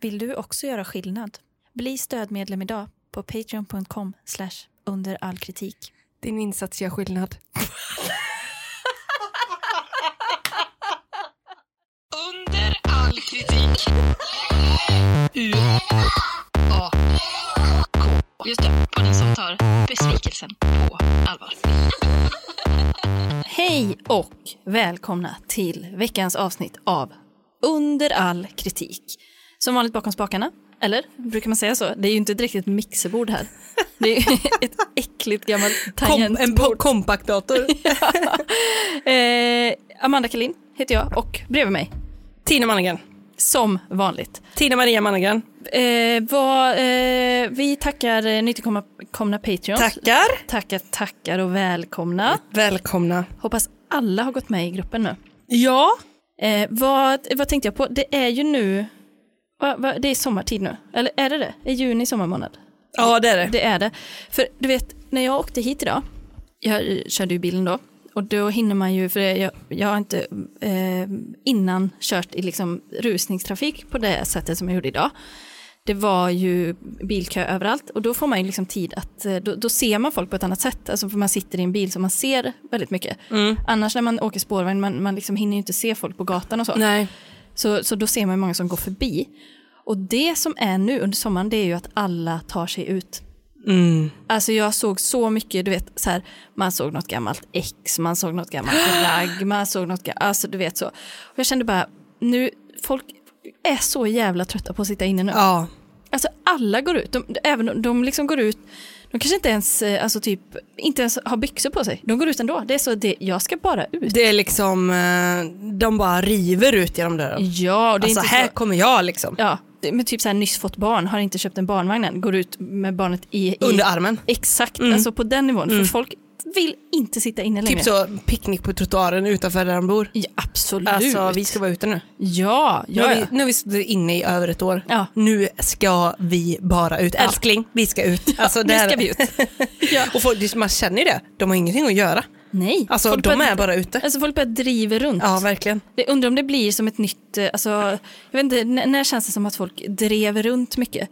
Vill du också göra skillnad? Bli stödmedlem idag på patreon.com under all kritik. Din insats gör skillnad. Under all kritik. U A K. Just det, podden som tar besvikelsen på allvar. Hej och välkomna till veckans avsnitt av Under all kritik. Som vanligt bakom spakarna, eller? Brukar man säga så? Det är ju inte direkt ett mixerbord här. Det är ju ett äckligt gammalt tangentbord. kompaktdator. Eh, Amanda Kalin heter jag och bredvid mig, Tina Mannegren. som vanligt. Tina Maria Mannegren. Eh, vad, eh, vi tackar eh, nytillkomna Patreons. Tackar. Tackar, tackar och välkomna. Välkomna. Hoppas alla har gått med i gruppen nu. Ja. Eh, vad, vad tänkte jag på? Det är ju nu... Va, va, det är sommartid nu. Eller är det det? Är juni sommarmånad? Ja, det är det. Det är det. För du vet, när jag åkte hit idag, jag eh, körde ju bilen då, och då hinner man ju, för jag, jag har inte eh, innan kört i liksom rusningstrafik på det sättet som jag gjorde idag. Det var ju bilkö överallt och då får man ju liksom tid att, eh, då, då ser man folk på ett annat sätt, alltså för man sitter i en bil så man ser väldigt mycket. Mm. Annars när man åker spårvagn, man, man liksom hinner ju inte se folk på gatan och så. Nej. Så, så då ser man ju många som går förbi. Och det som är nu under sommaren, det är ju att alla tar sig ut. Alltså jag såg så mycket, du vet, så här, man såg något gammalt ex, man såg något gammalt flagg, man såg något, ga- alltså du vet så. Och jag kände bara, nu, folk är så jävla trötta på att sitta inne nu. Ja. Alltså alla går ut, de, även om de liksom går ut, de kanske inte ens, eh, alltså typ, inte ens har byxor på sig, de går ut ändå. Det är så, det, jag ska bara ut. Det är liksom, eh, de bara river ut genom dörren. Ja, och det är Alltså inte här så... kommer jag liksom. Ja, det- men typ så här nyss fått barn, har inte köpt en barnvagn än, går ut med barnet i... i Under armen. Exakt, alltså på den nivån. För folk vill inte sitta inne längre. Typ så picknick på trottoaren utanför där de bor. Ja, absolut. Alltså vi ska vara ute nu. Ja, Nu ja, har ja. vi, nu har vi suttit inne i över ett år. Ja. Nu ska vi bara ut. Älskling, vi ska ut. Alltså, det nu här- ska vi ut. Ja. Och folk, det- man känner ju det, de har ingenting att göra. Nej. Alltså folk de börjar- är bara ute. Alltså folk bara driver runt. Ja, verkligen. Jag undrar om det blir som ett nytt, eh, alltså, jag vet inte, n- när känns det som att folk drev runt mycket?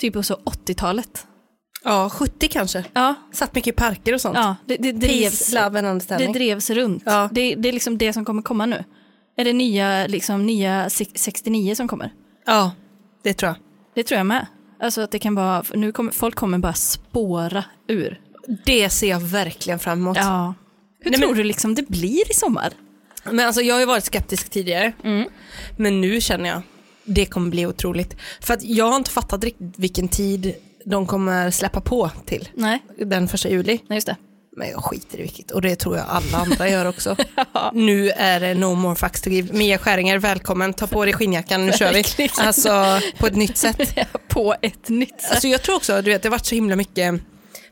Typ på så 80-talet. Ja, 70 kanske. Ja, Satt mycket i parker och sånt. ja det, det, drevs, Peace, love and det understanding. drevs runt. Ja. Det, det är liksom det som kommer komma nu. Är det nya, liksom, nya se- 69 som kommer? ja, det tror jag. Det tror jag med. Alltså att det kan vara, nu kommer, folk kommer bara spåra ur. Det ser jag verkligen fram emot. Ja. Hur Nej, men- tror du liksom det blir i sommar? Men alltså, jag har ju varit skeptisk tidigare, men nu känner jag det kommer bli otroligt. För att jag har inte fattat riktigt vilken tid de kommer släppa på till Nej, den första juli. nej just det. Men jag skiter i vilket och det tror jag alla andra gör också. Nu är det no more fucks to give. Mia Skäringer, välkommen. Ta på dig skinnjackan, nu kör vi. Alltså på ett nytt sätt. På ett nytt sätt. Alltså jag tror också, du vet det har varit så himla mycket,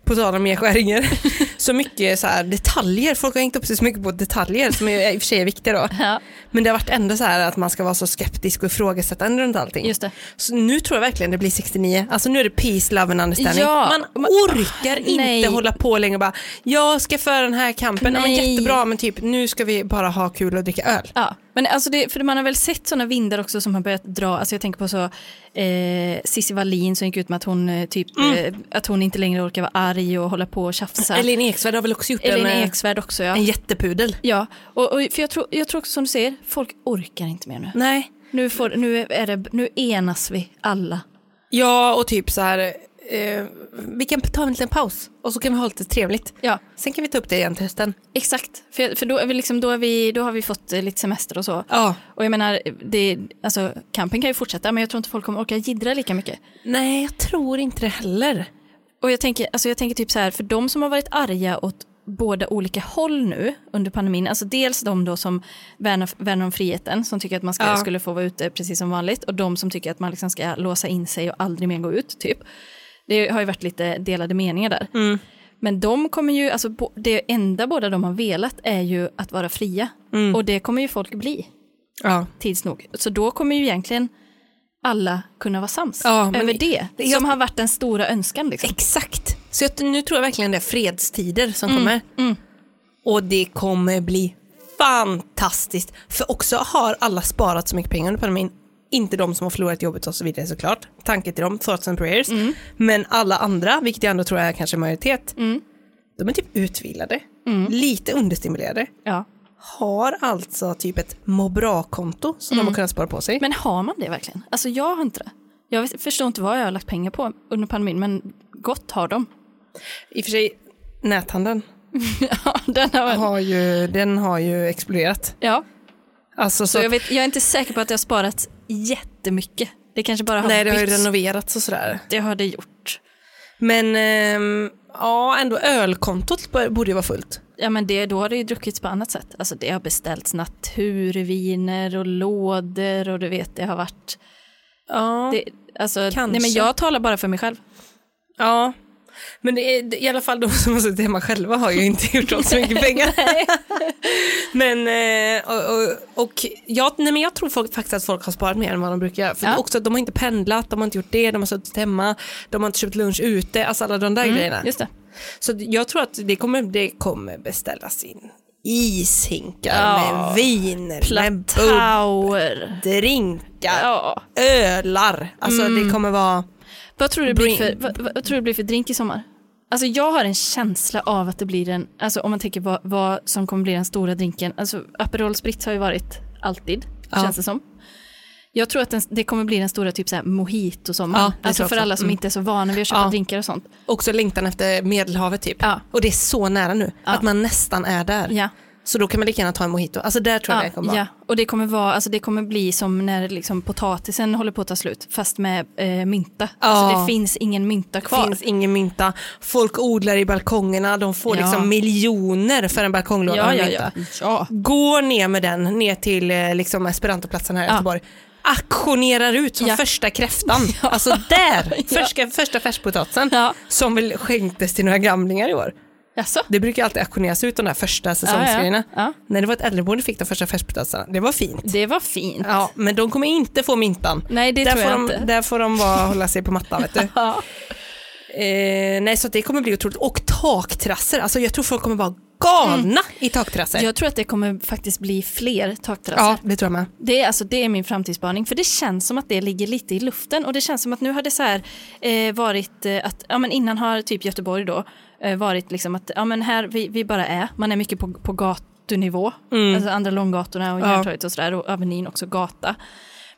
på tal om Mia Skäringer, så mycket så här, detaljer. Folk har hängt upp sig så mycket på detaljer som är, i och för sig är viktiga då. Ja. Men det har varit ändå så här att man ska vara så skeptisk och ifrågasättande runt allting. Just det. Så nu tror jag verkligen det blir 69. Alltså nu är det peace, love and understanding. Ja, man, man- Ah, orkar inte Nej. hålla på längre och bara, jag ska föra den här kampen, ja, men Nej. jättebra, men typ nu ska vi bara ha kul och dricka öl. Ja, men alltså det, för man har väl sett sådana vindar också som har börjat dra, alltså jag tänker på så eh, Cissi Wallin som gick ut med att hon, eh, typ, eh, att hon inte längre orkar vara arg och hålla på och tjafsa. Elin Eksvärd har väl också gjort Elin en, eh, Eksvärd också ja. en jättepudel. Ja, och, och för jag tror, jag tror också som du säger, folk orkar inte mer nu. Nej. Nu, får, nu, är det, nu enas vi alla. Ja, och typ så här, eh, vi kan ta en liten paus och så kan vi ha lite trevligt. Ja, Sen kan vi ta upp det igen till hösten. exakt. För, för då, är vi liksom, då, är vi, då har vi fått eh, lite semester och så. Ja. Och jag menar, det, alltså, campen kan ju fortsätta men jag tror inte folk kommer orka jiddra lika mycket. Nej, jag tror inte det heller. Och jag tänker, alltså jag tänker typ så här, för de som har varit arga åt båda olika håll nu under pandemin, alltså dels de då som värnar, värnar om friheten, som tycker att man ska, Ja. skulle få vara ute precis som vanligt, och de som tycker att man liksom ska låsa in sig och aldrig mer gå ut, typ. Det har ju varit lite delade meningar där. Men de kommer ju, alltså bo- det enda båda de har velat är ju att vara fria, och det kommer ju folk bli Ja. tids nog. Så då kommer ju egentligen alla kunna vara sams Ja, men- över det, Jag- som har varit den stora önskan. Liksom. Exakt. Så jag, nu tror jag verkligen det är fredstider som kommer. Och det kommer bli fantastiskt. För också har alla sparat så mycket pengar under pandemin Inte de som har förlorat jobbet och så vidare såklart. Tanke till dem, thoughts and prayers. Men alla andra, vilket jag ändå tror är kanske majoritet, de är typ utvilade, lite understimulerade. Ja. Har alltså typ ett må bra-konto som de har kunnat spara på sig. Men har man det verkligen? Alltså jag har inte det. Jag vet- förstår inte vad jag har lagt pengar på under pandemin, men gott har de. I och för sig, näthandeln Ja, den har man. har ju, den har ju exploderat. Ja. Alltså, så Så jag, att- vet, jag är inte säker på att jag har sparat jättemycket. Det kanske bara har nej, det har ju bytts. renoverats och sådär. Det har det gjort. Men ehm, ja, ändå ölkontot bör- borde ju vara fullt. Ja, men det, då har det ju druckits på annat sätt. Alltså det har beställts naturviner och lådor och du vet, det har varit... Ja, Det, alltså, Kanske. nej, men jag talar bara för mig själv. ja. men det är, det- i alla fall de som har suttit hemma själva har ju inte gjort av så mycket pengar. men, eh, och, och, och jag, nej, men jag tror folk, faktiskt att folk har sparat mer än vad de brukar göra. För Ja. också att de har inte pendlat, de har inte gjort det, de har suttit hemma, de har inte köpt lunch ute, alltså alla de där grejerna. Mm, Just det. Så att jag tror att det kommer, det kommer beställas in ishinkar Ja. med viner, med Platauer. drinkar, Ja. Mm. ölar. Alltså det kommer vara... Vad tror, du det blir Drink. för, vad, vad vad tror du det blir för drink i sommar? Alltså jag har en känsla av att det blir en, alltså om man tänker vad, vad som kommer bli den stora drinken, alltså Aperol Spritz har ju varit alltid, Ja. känns det som. Jag tror att den, det kommer bli den stora typ såhär mojito sommar. Ja, det tror alltså jag för också. Mm. alla som inte är så vana vid att köpa Ja. drinkar och sånt. Också längtan efter Medelhavet typ. Ja. Och det är så nära nu, att man nästan är där. Ja. Så då kan man lika gärna ta en mojito. Alltså där tror jag det kommer Ja, vara. ja, och det kommer, vara, alltså det kommer bli som när liksom potatisen håller på att ta slut, fast med eh, mynta. Alltså Ja. det finns ingen mynta Det kvar. finns ingen mynta, folk odlar i balkongerna, de får Ja. liksom miljoner för en balkonglåda ja, med ja, ja. mynta. Går ner med den ner till eh, liksom Esperantoplatsen här i Ja. Göteborg, aktionerar ut som Ja. första kräftan. Alltså där, första, första färskpotatisen Ja. som väl skänktes till några gamlingar i år. Jaså? Det brukar alltid auktioneras ut de där första säsongsgrejerna. Ja, ja. Ja. När det var ett äldreboende fick de första färskpotatisarna. Det var fint. Det var fint. Ja, men de kommer inte få mintan. Nej, det där, tror får jag de, inte. där får de bara hålla sig på mattan. Vet du. Ja. Eh, nej, så att det kommer bli otroligt. Och takterrasser. Alltså, jag tror folk kommer vara galna Mm. i takterrasser. Jag tror att det kommer faktiskt bli fler takterrasser. ja, det tror jag med. Det, är, alltså, det är min framtidsspaning, för det känns som att det ligger lite i luften och det känns som att nu har det så här eh, varit eh, att, ja men innan har typ Göteborg då eh, varit liksom att, ja men här, vi, vi bara är, man är mycket på, på gatunivå, Mm. alltså andra långgatorna och Järntorget och sådär och Avenyn också gata.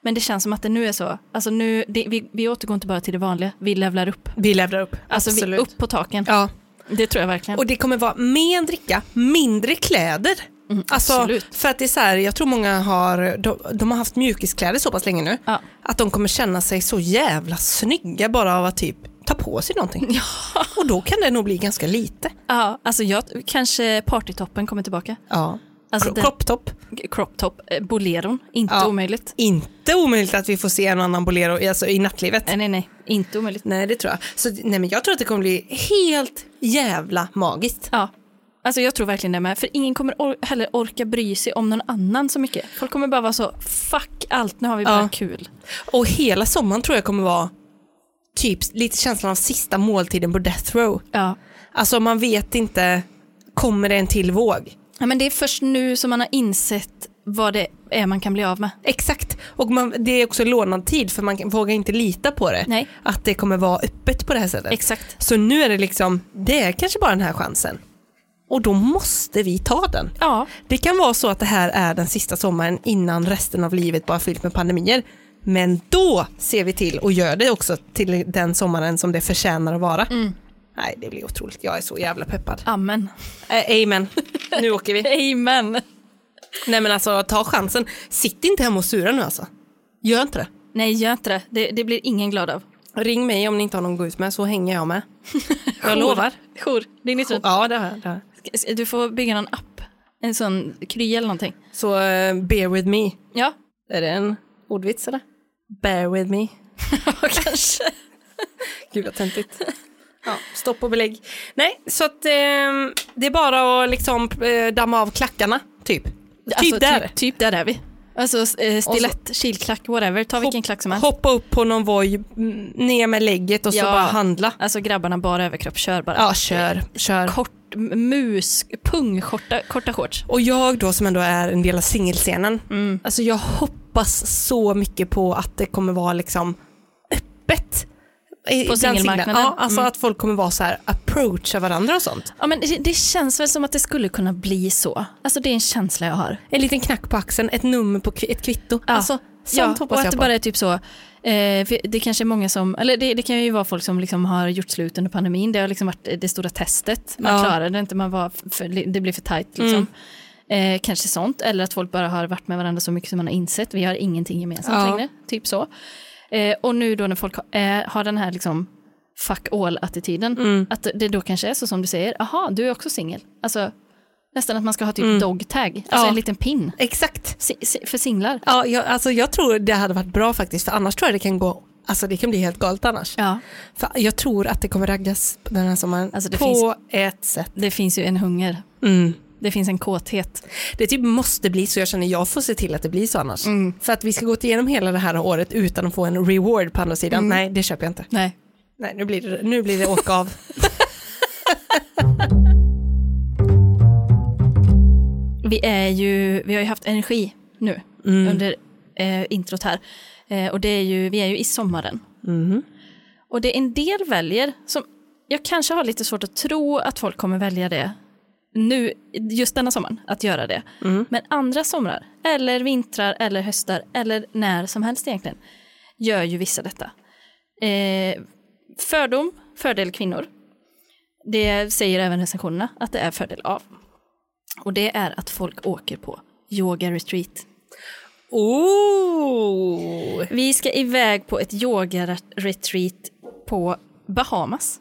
Men det känns som att det nu är så, alltså nu, det, vi, vi återgår inte bara till det vanliga, vi levlar upp. Vi levlar upp. Alltså vi, Absolut. upp på taken, Ja. det tror jag verkligen. Och det kommer vara mer dricka, mindre kläder. alltså, Mm, absolut. För att det är så här, jag tror många har, de, de har haft mjukiskläder så pass länge nu, Ja. att de kommer känna sig så jävla snygga bara av att typ ta på sig någonting. Och då kan det nog bli ganska lite. Ja, alltså jag, kanske partytoppen kommer tillbaka. Ja. Alltså Kro- den- Kropptopp. crop top, eh, boleron, inte Ja. omöjligt. Inte omöjligt att vi får se en annan bolero i- alltså, i nattlivet. Nej, nej, nej, inte omöjligt. Nej, det tror jag. Så, nej, men jag tror att det kommer bli helt jävla magiskt. Ja. Alltså jag tror verkligen det med, för ingen kommer or- heller orka bry sig om någon annan så mycket. Folk kommer bara vara så, fuck allt, nu har vi bara Ja. kul. Och hela sommaren tror jag kommer vara typ lite känslan av sista måltiden på death row. Ja. Alltså man vet inte, kommer det en till våg? ja, men det är först nu som man har insett vad det är man kan bli av med. Exakt, och man, det är också lånad tid för man kan- vågar inte lita på det. Nej. Att det kommer vara öppet på det här sättet. Exakt. Så nu är det liksom, det är kanske bara den här chansen. Och då måste vi ta den. Ja, Det kan vara så att det här är den sista sommaren innan resten av livet bara fyllt med pandemier. Men då ser vi till och gör det också till den sommaren som det förtjänar att vara. Mm. Nej, det blir otroligt. Jag är så jävla peppad. amen. Eh, amen. Nu åker vi. Amen. Nej men alltså ta chansen. Sitt inte hemma och sura nu alltså. Gör inte det. Nej, gör inte det. det. Det blir ingen glad av. Ring mig om ni inte har någon att gå ut med så hänger jag med. Jag lovar. Jour, det är nytt. Ja det har jag. det har jag. Du får bygga någon app, en sån kry eller någonting. Så eh, bear with me. Ja, Är det en ordvits eller? Bear with me. kanske. Gud vad töntigt. Ja, stopp och belägg. Nej, så att ehm, det är bara att liksom eh, damma av klackarna, typ. Alltså, typ där. Typ, typ där är vi. Alltså eh, stilett, kilklack, whatever. Ta vilken Hopp- klack som helst. Hoppa upp på någon voj, mm, ner med lägget och så Ja. bara handla. Alltså grabbarna bara överkropp, kör bara. Ja, kör, kör. Kort, m- mus, pungskjorta, korta shorts. Mm. Och jag då som ändå är en del av singelscenen, alltså jag hoppas hoppas så mycket på att det kommer vara liksom öppet. i- På bland singelmarknaden? Mm. singlar. Ja, alltså att folk kommer vara så här approacha varandra och sånt. Ja, men det, det känns väl som att det skulle kunna bli så. Alltså det är en känsla jag har. En liten knack på axeln, ett nummer på kvi- ett kvitto. Ja. Alltså, sånt ja, och hoppas att jag det på. bara är typ så. Eh, för det kanske är många som, eller det, det kan ju vara folk som liksom har gjort slut under pandemin. Det har liksom varit det stora testet. Man Ja. klarade det inte, man var för, det blev för tajt. Liksom. Mm. Eh, kanske sånt, eller att folk bara har varit med varandra så mycket som man har insett. Vi har ingenting gemensamt Ja. längre, typ så. Eh, och nu då när folk har, eh, har den här liksom fuck all-attityden, Mm. att det då kanske är så som du säger, aha, du är också singel. Alltså nästan att man ska ha typ dog tag, alltså Mm. Ja. en liten pin Exakt. si- si- för singlar. Ja, jag, alltså jag tror det hade varit bra faktiskt, för annars tror jag det kan gå, alltså det kan bli helt galet annars. Ja. För jag tror att det kommer raggas den här sommaren Alltså, det på finns- ett sätt. Det finns ju en hunger. Mm. Det finns en kåthet. Det typ måste bli så, jag känner jag får se till att det blir så annars. För att vi ska gå igenom hela det här året utan att få en reward på andra sidan, nej det köper jag inte. Nej. Nej, nu blir det, nu blir det åka av. Vi, är ju, vi har ju haft energi nu under eh, introt här. Eh, och det är ju, vi är ju i sommaren. Och det en del väljer, som jag kanske har lite svårt att tro att folk kommer välja det nu, just denna sommaren, att göra det. Men andra somrar, eller vintrar, eller höstar, eller när som helst egentligen, gör ju vissa detta. Eh, fördom, fördel kvinnor. Det säger även recensionerna att det är fördel av. Och det är att folk åker på yoga retreat. Oh! Vi ska iväg på ett yoga retreat på Bahamas.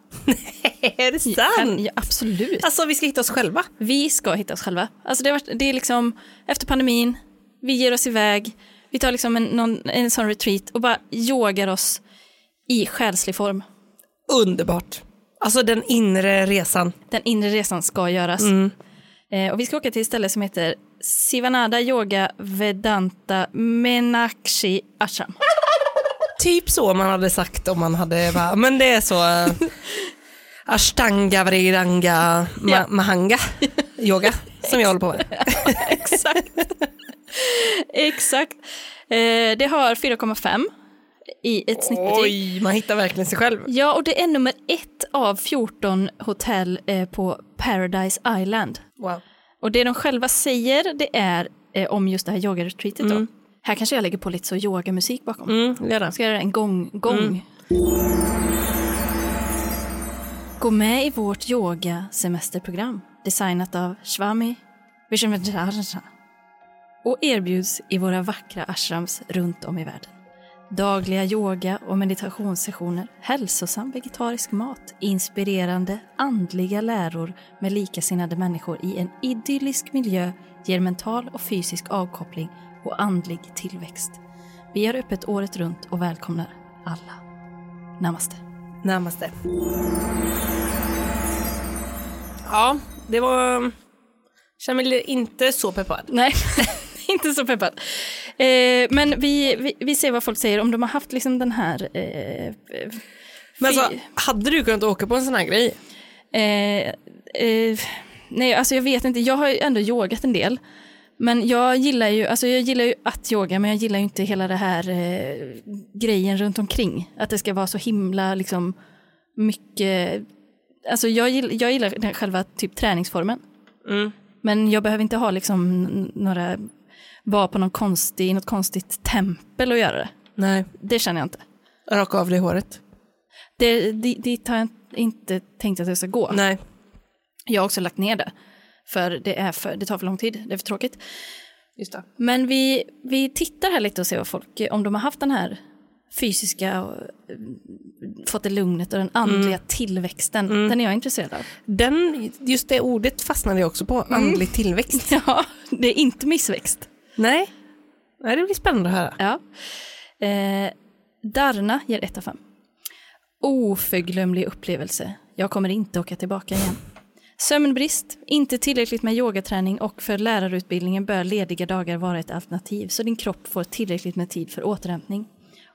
Är det sant? Ja, absolut. Alltså vi ska hitta oss själva. Vi ska hitta oss själva. Alltså det, har varit, det är liksom efter pandemin, vi ger oss iväg, vi tar liksom en, någon, en sån retreat och bara yogar oss i själslig form. Underbart. Alltså den inre resan. Den inre resan ska göras. Eh, och vi ska åka till ett ställe som heter Sivanada Yoga Vedanta Menakshi Ashram. Typ så man hade sagt om man hade, va, men det är så. eh, Ashtanga vriranga ma- Ja. mahanga yoga som jag håller på med. Exakt. Exakt. Eh, det har 4,5 i ett snittbetyg. Oj, man hittar verkligen sig själv. Ja, och det är nummer ett av 14 hotell eh, på Paradise Island. Wow. Och det de själva säger, det är eh, om just det här yogaretreatet då. Här kanske jag lägger på lite så yogamusik bakom. Mm, det är det. Ska jag göra en gång, gång? Gå med i vårt yoga-semesterprogram designat av Swami Vishwanatharaja och erbjuds i våra vackra ashrams runt om i världen. Dagliga yoga och meditationssessioner, hälsosam vegetarisk mat, inspirerande andliga läror med likasinnade människor i en idyllisk miljö ger mental och fysisk avkoppling och andlig tillväxt. Vi har öppet året runt och välkomnar alla. Namaste. Namaste. Ja, det var... Känner mig inte så peppad. Nej, inte så peppad. Eh, men vi, vi, vi ser vad folk säger om de har haft liksom den här... Eh, Men fy- alltså, hade du kunnat åka på en sån här grej? eh, eh, nej, alltså jag vet inte. Jag har ju ändå yogat en del. Men jag gillar, ju, alltså jag gillar ju att yoga, men jag gillar ju inte hela det här eh, grejen runt omkring. Att det ska vara så himla liksom, mycket... Alltså jag, gill, jag gillar den själva typ träningsformen. Mm. Men jag behöver inte ha liksom n- några, vara på någon konstig, något konstigt tempel och göra det. Nej. Det känner jag inte. Raka av dig håret? Det, di- dit har jag inte tänkt att jag ska gå. Nej. Jag har också lagt ner det. För det, är för det tar för lång tid, det är för tråkigt. Just det. Men vi, vi tittar här lite och ser vad folk, om de har haft den här fysiska, och, eh, fått det lugnet och den andliga tillväxten. Den är jag intresserad av. Den, just det ordet fastnade jag också på, andlig tillväxt. Ja, det är inte missväxt. Nej. Nej, det blir spännande att höra. Ja. Eh, Darna ger 1 av 5. Oförglömlig upplevelse. Jag kommer inte åka tillbaka igen. Sömnbrist, inte tillräckligt med yogaträning och för lärarutbildningen bör lediga dagar vara ett alternativ så din kropp får tillräckligt med tid för återhämtning.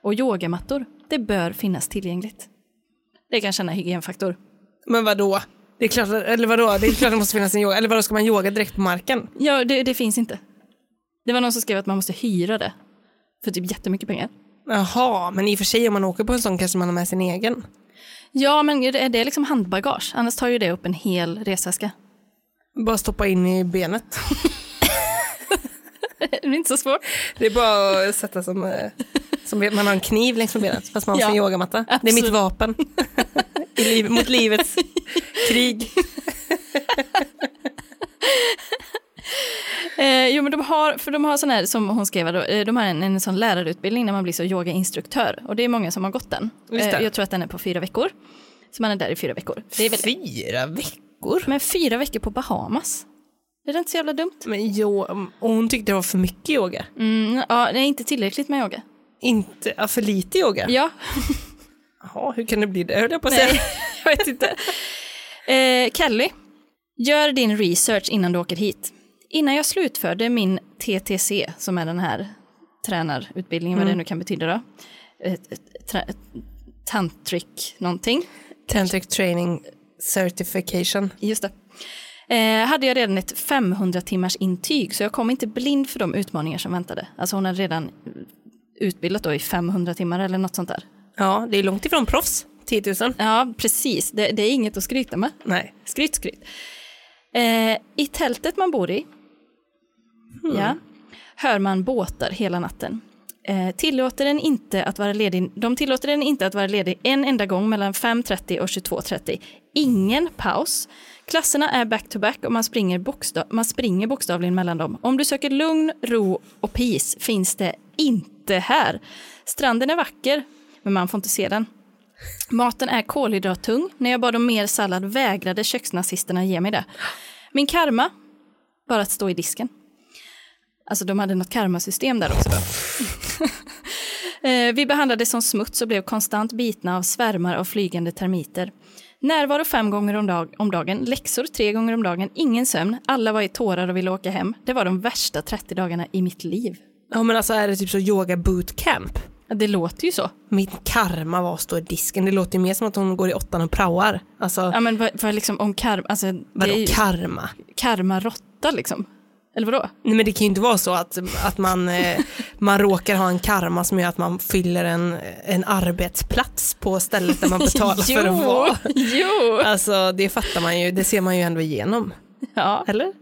Och yogamattor, det bör finnas tillgängligt. Det kan känna hygienfaktor. Men vadå? Det är klart, eller vadå? Det är klart det måste finnas en yoga. Eller vadå, ska man yoga direkt på marken? Ja, det, det finns inte. Det var någon som skrev att man måste hyra det. för typ jättemycket pengar. Jaha, men i och för sig om man åker på en sån kanske man har med sin egen. Ja, men är det liksom handbagage? Annars tar ju det upp en hel resväska. Bara stoppa in i benet. det är inte så svårt. Det är bara att sätta som, eh, som man har en kniv längs med benet, fast man har Ja, sin yogamatta. Det är absolut. mitt vapen I liv, mot livets krig. Eh, jo, men de har, för de har sån här, som hon skrev, då, eh, de har en, en sån lärarutbildning när man blir så yogainstruktör. Och det är många som har gått den. Just det. Eh, jag tror att den är på fyra veckor. Så man är där i fyra veckor. Det är väl, Fyra veckor? men fyra veckor på Bahamas. Är det inte så jävla dumt? Men jo, och hon tyckte det var för mycket yoga. Mm, ja, det är inte tillräckligt med yoga. Inte, ja, för lite yoga? Ja, Jaha, hur kan det bli det höll jag på att Nej, säga. jag vet inte. Eh, Kelly, gör din research innan du åker hit. Innan jag slutförde min TTC, som är den här tränarutbildningen, vad det nu kan betyda då. Eh, tra- tantric någonting. Tantric training certification. Just det. Eh, hade jag redan ett 500 timmars intyg så jag kom inte blind för de utmaningar som väntade. Alltså hon hade redan utbildat då i 500 timmar eller något sånt där. Ja, det är långt ifrån proffs. 10 000. Ja, precis. Det, det är inget att skryta med. Nej. Skryt, skryt. Eh, I tältet man bor i ja, hör man båtar hela natten. Eh, tillåter den inte att vara ledig, de tillåter den inte att vara ledig en enda gång mellan 5.30 och 22.30. Ingen paus. Klasserna är back-to-back och man springer, boksta- man springer bokstavligen mellan dem. Om du söker lugn, ro och peace finns det inte här. Stranden är vacker, men man får inte se den. Maten är kolhydrattung. När jag bad om mer sallad vägrade köksnazisterna ge mig det. Min karma, bara att stå i disken. Alltså de hade något karmasystem där också. Eh, Vi behandlades som smuts och blev konstant bitna av svärmar av flygande termiter. Närvaro fem gånger om, dag- om dagen, läxor tre gånger om dagen, ingen sömn, alla var i tårar och ville åka hem. Det var de värsta 30 dagarna i mitt liv. Ja, men alltså är det typ så yoga bootcamp? Ja, Det låter ju så. Min karma var att stå i disken. Det låter ju mer som att hon går i åttan och praoar. Alltså, Ja, men vad, vad liksom om karma, alltså det vadå är ju karma? karma råtta liksom. Eller vadå? Nej, men det kan ju inte vara så att, att man, eh, man råkar ha en karma som gör att man fyller en, en arbetsplats på stället där man betalar för att vara. Jo! Alltså det fattar man ju, det ser man ju ändå igenom. Ja. Eller?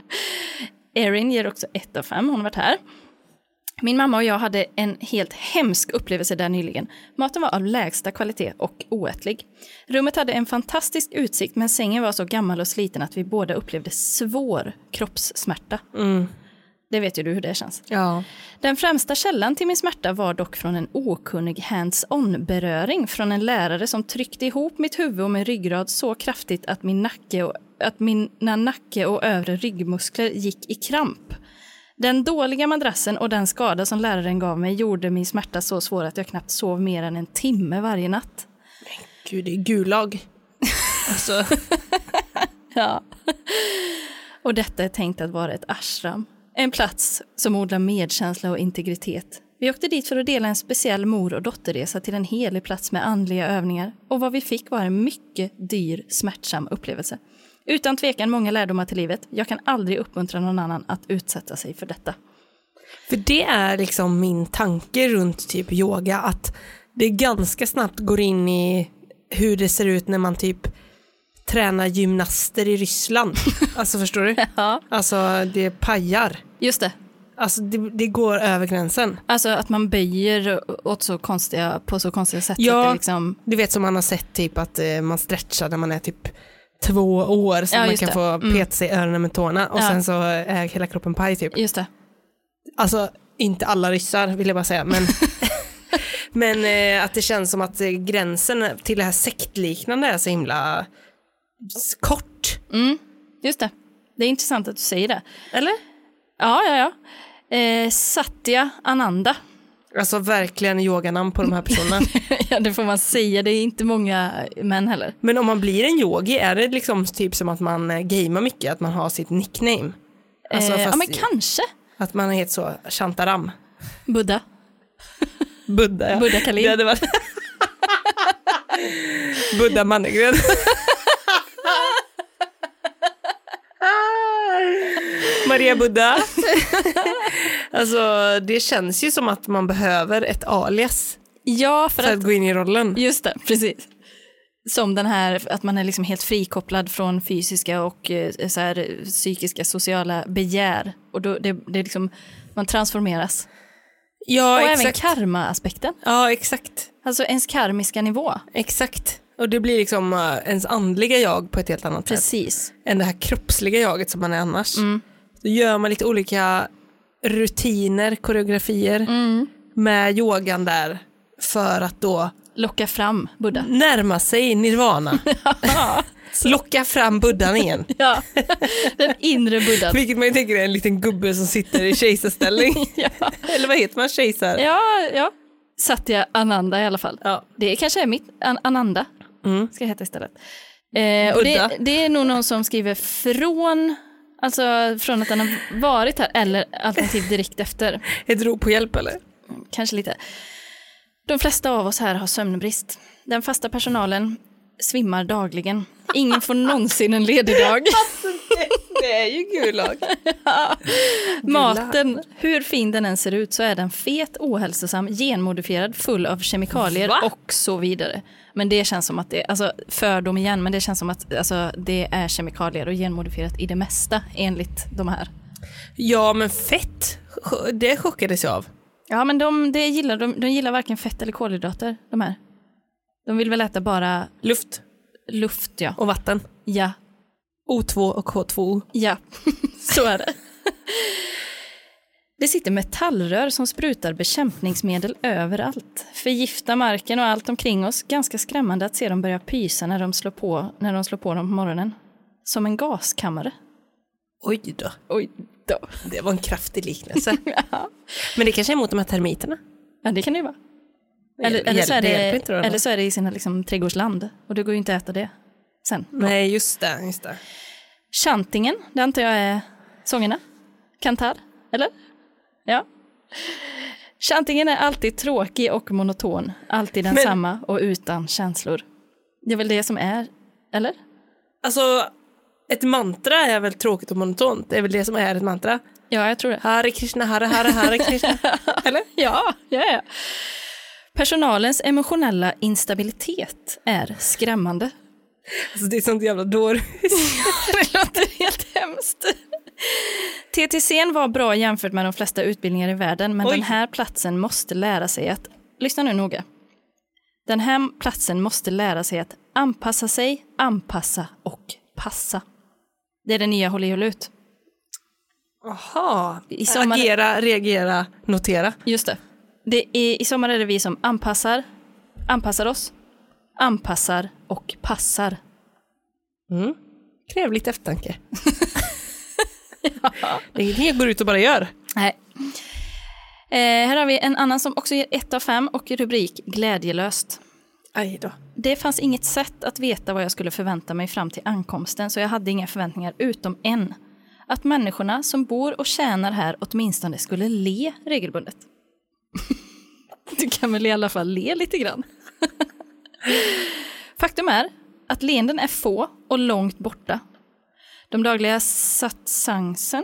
Erin ger också ett av fem. hon har varit här. Min mamma och jag hade en helt hemsk upplevelse där nyligen. Maten var av lägsta kvalitet och oätlig. Rummet hade en fantastisk utsikt men sängen var så gammal och sliten att vi båda upplevde svår kroppssmärta. Det vet ju du hur det känns. Ja. Den främsta källan till min smärta var dock från en okunnig hands-on-beröring från en lärare som tryckte ihop mitt huvud och min ryggrad så kraftigt att, min nacke och, att mina nacke och övre ryggmuskler gick i kramp. Den dåliga madrassen och den skada som läraren gav mig gjorde min smärta så svår att jag knappt sov mer än en timme varje natt. Gud, det är gulag. Alltså, Ja. Och detta är tänkt att vara ett ashram. En plats som odlar medkänsla och integritet. Vi åkte dit för att dela en speciell mor och dotterresa till en helig plats med andliga övningar och vad vi fick var en mycket dyr, smärtsam upplevelse. Utan tvekan många lärdomar till livet. Jag kan aldrig uppmuntra någon annan att utsätta sig för detta. för det är liksom min tanke runt typ yoga, att det ganska snabbt går in i hur det ser ut när man typ tränar gymnaster i Ryssland. Alltså förstår du? Ja, Alltså det pajar. just det. Alltså det, det går över gränsen. Alltså att man böjer åt så konstiga, på så konstiga sätt. Ja. Att det liksom, Du vet som man har sett typ att eh, man stretchar när man är typ två år så Ja, man just kan det. få Mm. peta sig i öronen med tårna och Ja. sen så är hela kroppen paj typ. just det. Alltså inte alla ryssar vill jag bara säga men, men eh, att det känns som att eh, gränsen till det här sektliknande är så himla s- kort. Just det. Det är intressant att du säger det. Eller? Ja, ja, ja. Eh, Satya Ananda. Alltså verkligen yoganamn på de här personerna. ja, det får man säga. Det är inte många män heller. men om man blir en yogi är det liksom typ som att man eh, gamear mycket, att man har sitt nickname. Alltså, eh, ja, fast- men kanske. Att man heter så, Shantaram. Buddha. Buddha, ja. Buddha Khalid. Det hade varit... Buddha Mannegren. Maria Buddha. Alltså, det känns ju som att man behöver ett alias Ja, för, för att, att gå in i rollen. just det, precis. Som den här, att man är liksom helt frikopplad från fysiska och eh, så här, eh, psykiska, sociala begär. Och då, det, det är liksom, man transformeras. Ja, och även karma-aspekten, Ja, exakt. alltså ens karmiska nivå. Exakt. Och det blir liksom eh, ens andliga jag på ett helt annat sätt Precis. än det här kroppsliga jaget som man är annars. Då gör man lite olika rutiner, koreografier med yogan där för att då Locka fram Buddha. närma sig nirvana. Locka fram buddhan igen. Ja, den inre buddhan. Vilket man ju tänker är en liten gubbe som sitter i kejsarställning. Ja. Eller vad heter man, kejsar? Ja, ja. Satya Ananda i alla fall. Ja. Det kanske är mitt, An- Ananda ska jag heta istället. Eh, och Buddha. det, det är nog någon som skriver från, alltså från att han har varit här eller alternativt direkt efter. Ett rop på hjälp eller? Kanske lite. De flesta av oss här har sömnbrist. Den fasta personalen svimmar dagligen. Ingen får någonsin en ledig dag. Det är ju gulag. Maten, hur fin den än ser ut, så är den fet, ohälsosam, genmodifierad, full av kemikalier Va? och så vidare. Men det känns som att det, alltså fördom igen, men det känns som att alltså, det är kemikalier och genmodifierat i det mesta enligt de här. Ja men fett, Ch- det chockades jag av. Ja, men de, det gillar, de, de gillar varken fett eller kolhydrater, de här. De vill väl äta bara Luft luft, ja. och vatten. Ja, O2 och K2O. Ja, så är det. Det sitter metallrör som sprutar bekämpningsmedel överallt. Förgiftar marken och allt omkring oss. Ganska skrämmande att se dem börja pysa när de slår på, när de slår på dem på morgonen. Som en gaskammare. Oj då. Oj då. Det var en kraftig liknelse. Men det kanske är mot de här termiterna. Ja, det kan det ju vara. Det Eller, hjäl- eller, så, är det det, hjälper inte då, eller då. så är det i sina liksom, trädgårdsland. Och det går ju inte att äta det sen. Nej, just det. Just det. Chantingen, det antar jag är sångerna? Kantar, eller? Ja. Chantingen är alltid tråkig och monoton, alltid densamma och utan känslor. Det är väl det som är, eller? Alltså, ett mantra är väl tråkigt och monotont? Det är väl det som är ett mantra? Ja, jag tror det. Hare Krishna, Hare Hare, Hare Krishna. Eller? Ja, ja, ja. Personalens emotionella instabilitet är skrämmande. Alltså, det är sånt jävla dårhus. det låter helt hemskt. TTCn var bra jämfört med de flesta utbildningar i världen, men Oj. den här platsen måste lära sig att, lyssna nu noga, den här platsen måste lära sig att anpassa sig, anpassa och passa. Det är det nya håll i håll ut. Jaha. I sommar- Agera, reagera, notera. Just det. det är, I sommar är det vi som anpassar, anpassar oss, anpassar och passar. Kräv lite eftertanke. Det är ingenting jag går ut och bara gör. Nej. Eh, här har vi en annan som också ger 1 av 5 och rubrik Glädjelöst. Aj då. Det fanns inget sätt att veta vad jag skulle förvänta mig fram till ankomsten så jag hade inga förväntningar utom en. Att människorna som bor och tjänar här åtminstone skulle le regelbundet. Du kan väl i alla fall le lite grann? Faktum är att leenden är få och långt borta. De dagliga satsangsen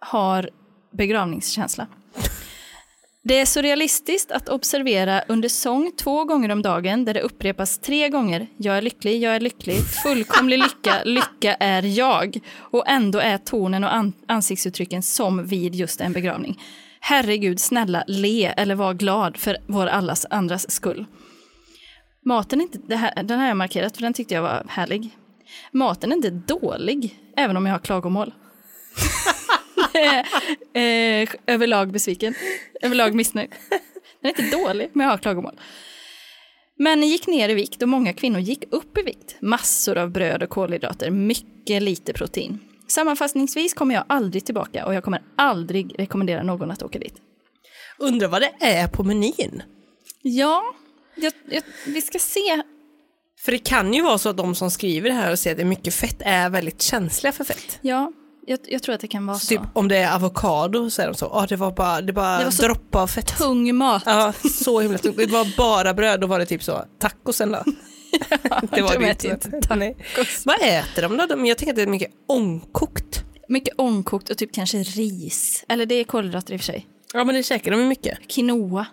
har begravningskänsla. Det är surrealistiskt att observera under sång två gånger om dagen där det upprepas tre gånger “Jag är lycklig, jag är lycklig, fullkomlig lycka, lycka är jag” och ändå är tonen och an- ansiktsuttrycken som vid just en begravning. Herregud, snälla le eller var glad för vår allas andras skull. Maten är inte, det här, den här har jag markerat för den tyckte jag var härlig. Maten är inte dålig, även om jag har klagomål. eh, överlag besviken, överlag missnöjd. Den är inte dålig, men jag har klagomål. Männen gick ner i vikt och många kvinnor gick upp i vikt. Massor av bröd och kolhydrater, mycket lite protein. Sammanfattningsvis kommer jag aldrig tillbaka och jag kommer aldrig rekommendera någon att åka dit. Undrar vad det är på menyn. Ja, jag, jag, vi ska se För det kan ju vara så att de som skriver det här och säger att det är mycket fett är väldigt känsliga för fett. Ja, jag, jag tror att det kan vara så. Typ om det är avokado så är de så, ah, det var bara, det bara Det var så droppade av fett. Tung mat. Ja, så himla tungt. Det var bara bröd, då var det typ så, tacosen då? det var de det ju äter ju inte Nej. Vad äter de då? De, jag tänker att det är mycket ångkokt. Mycket ångkokt och typ kanske ris. Eller det är kolhydrater i och för sig. Ja, men det käkar de ju mycket. Quinoa,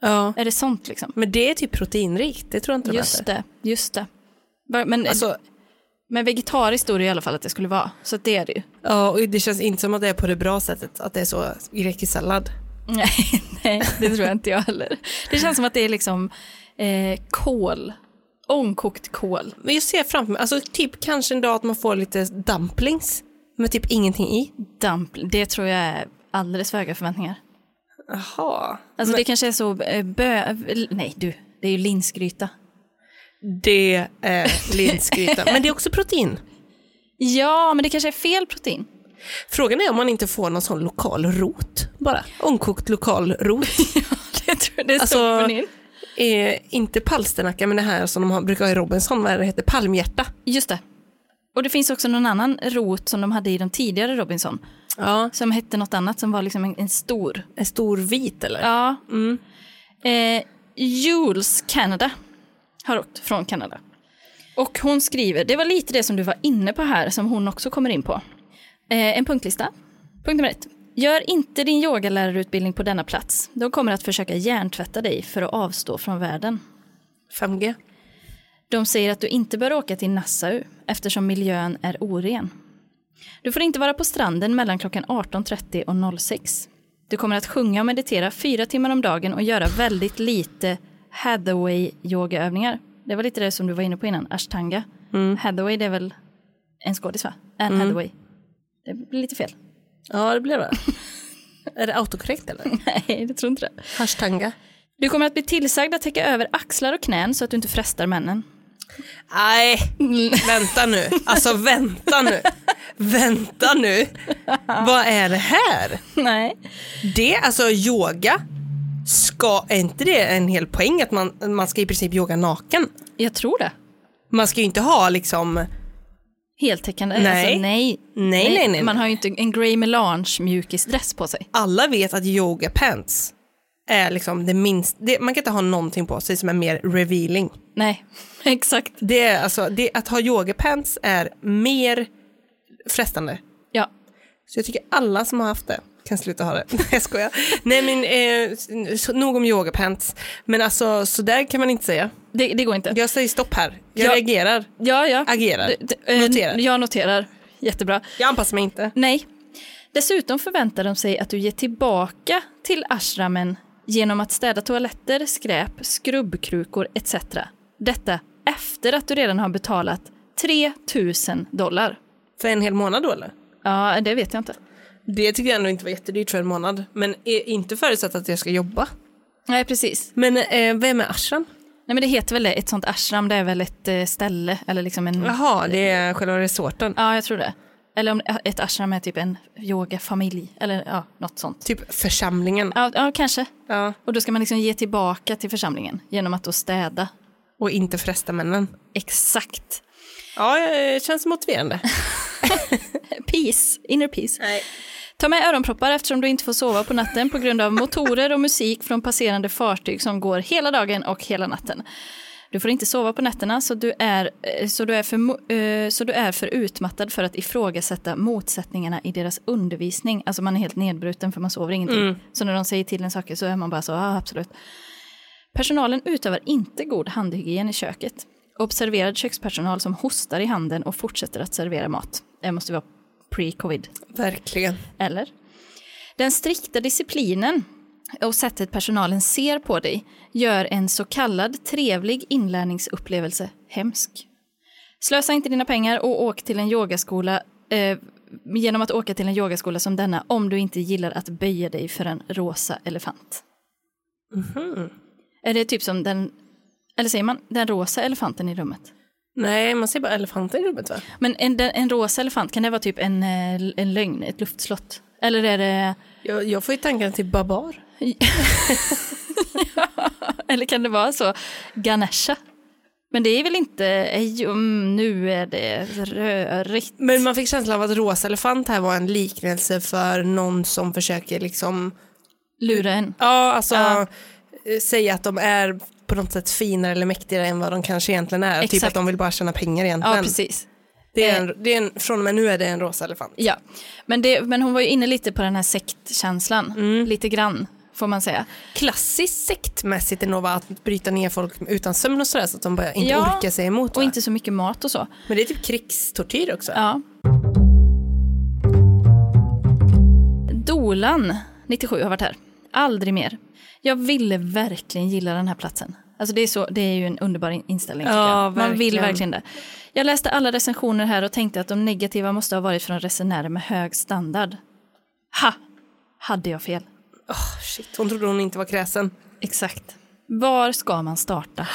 Ja. är det sånt liksom? Men det är typ proteinrikt, det tror jag inte de Just äter. det, just det. Bara- Men, Alltså, men vegetariskt stod det i alla fall att det skulle vara, så att det är det ju. ja, och det känns inte som att det är på det bra sättet, att det är så grekisk sallad. Nej, nej, det tror jag inte jag heller. Det känns som att det är liksom eh, kål, ångkokt kål. Men jag ser framför mig, alltså typ kanske en dag att man får lite dumplings med typ ingenting i. Dumpling, det tror jag är alldeles för höga förväntningar. Jaha. Alltså det kanske är så eh, bö... Nej du, det är ju linsgryta. Det är linsgryta, men det är också protein. Ja, men det kanske är fel protein. Frågan är om man inte får någon sån lokal rot bara. Ångkokt lokal rot. det tror jag det är Alltså- alltså... in. eh, inte palsternacka men det här som de har, brukar ha i Robinson, vad är det heter, palmhjärta. Just det. Och det finns också någon annan rot som de hade i de tidigare Robinson. Ja. Som hette något annat som var liksom en, en stor. En stor vit eller? Ja. mm. Eh, Jules Canada har åkt från Kanada. Och hon skriver, det var lite det som du var inne på här som hon också kommer in på. Eh, en punktlista. Punkt nummer ett. Gör inte din yogalärarutbildning på denna plats. De kommer att försöka hjärntvätta dig för att avstå från världen. 5G. De säger att du inte bör åka till Nassau eftersom miljön är oren. Du får inte vara på stranden mellan klockan 18.30 och 06. Du kommer att sjunga och meditera fyra timmar om dagen och göra väldigt lite Hathaway-yogaövningar. Det var lite det som du var inne på innan, ashtanga. Hathaway, det är väl en skådis va? Anne Hathaway. Det blir lite fel. Ja det blir det. är det autokorrekt eller? Nej, det tror inte det. Hashtanga. Du kommer att bli tillsagd att täcka över axlar och knän så att du inte frestar männen. Nej, vänta nu. Alltså vänta nu. Vänta nu. Vad är det här? Nej. Det, alltså yoga, ska, är inte det en hel poäng att man, man ska i princip yoga naken? Jag tror det. Man ska ju inte ha liksom Heltäckande? Nej. Alltså, nej. Nej, nej, nej, Man nej. har ju inte en Grey Melange mjukisdress på sig. alla vet att yoga pants är liksom det minsta, det, man kan inte ha någonting på sig som är mer revealing. Nej, exakt. Det är alltså, det, att ha yoga pants är mer frestande. Ja. Så jag tycker alla som har haft det kan sluta ha det. Nej jag skojar. Nej men eh, så, nog om yoga pants. Men alltså så där kan man inte säga. Det, det går inte. Jag säger stopp här. Jag Ja. reagerar. Ja, ja. Agerar. D- d- eh, Noterar. Jag noterar. Jättebra. Jag anpassar mig inte. Nej. Dessutom förväntar de sig att du ger tillbaka till ashramen genom att städa toaletter, skräp, skrubbkrukor etc. Detta efter att du redan har betalat 3 000 dollar. För en hel månad då eller? Ja, det vet jag inte. Det tycker jag ändå inte var jättedyrt för en månad. Men är inte förutsatt att jag ska jobba. Nej, precis. Men eh, vem är Ashram? Nej, men det heter väl det. Ett sånt ashram, det är väl ett eh, ställe eller liksom en... Jaha, det är själva resorten. Ja, jag tror det. Eller om ett ashram är typ en yogafamilj eller ja, något sånt. Typ församlingen. Ja, ja, kanske. Ja. Och då ska man liksom ge tillbaka till församlingen genom att då städa. Och inte fresta männen. Exakt. Ja, eh, känns motiverande. Peace, inner peace. Ta med öronproppar eftersom du inte får sova på natten på grund av motorer och musik från passerande fartyg som går hela dagen och hela natten. Du får inte sova på nätterna så du är, eh, så du är, för, mo- eh, så du är för utmattad för att ifrågasätta motsättningarna i deras undervisning. Alltså man är helt nedbruten för man sover ingenting. Så när de säger till en saker så är man bara så, ja absolut. Personalen utövar inte god handhygien i köket. Observerad kökspersonal som hostar i handen och fortsätter att servera mat. Det måste vara pre-covid. Verkligen. Eller? Den strikta disciplinen och sättet personalen ser på dig gör en så kallad trevlig inlärningsupplevelse hemsk. Slösa inte dina pengar och åk till en yogaskola eh, genom att åka till en yogaskola som denna om du inte gillar att böja dig för en rosa elefant. Är det typ som den, eller säger man, den rosa elefanten i rummet? Nej, man ser bara elefanter i rummet va? Men en, den- en rosa elefant, kan det vara typ en, eh, en lögn, ett luftslott? Eller är det Jag, jag får ju tankarna till Babar. Eller kan det vara så? Ganesha? Men det är väl inte, ej, mm, nu är det rörigt. Men man fick känslan av att rosa elefant här var en liknelse för någon som försöker liksom, Lura en. ja alltså Ja. eh, säga att de är på något sätt finare eller mäktigare än vad de kanske egentligen är. Typ Exakt. att de vill bara tjäna pengar Ja, egentligen. precis. Det är en, det är en, från och med nu är det en rosa elefant. Ja, men, det, men hon var ju inne lite på den här sektkänslan, lite grann får man säga. Klassiskt sektmässigt är nog bara att bryta ner folk utan sömn och sådär så att de bara inte Ja, orkar sig emot. Och va? inte så mycket mat och så. Men det är typ krigstortyr också. Ja. Dolan, 97, har varit här. Aldrig mer. Jag ville verkligen gilla den här platsen. Alltså det, är så, det är ju en underbar in- inställning. tycker Ja, jag. Man vill verkligen. verkligen det. Jag läste alla recensioner här och tänkte att de negativa måste ha varit från resenärer med hög standard. Ha! Hade jag fel? Åh, Ah, shit, hon trodde hon inte var kräsen. Exakt. Var ska man starta?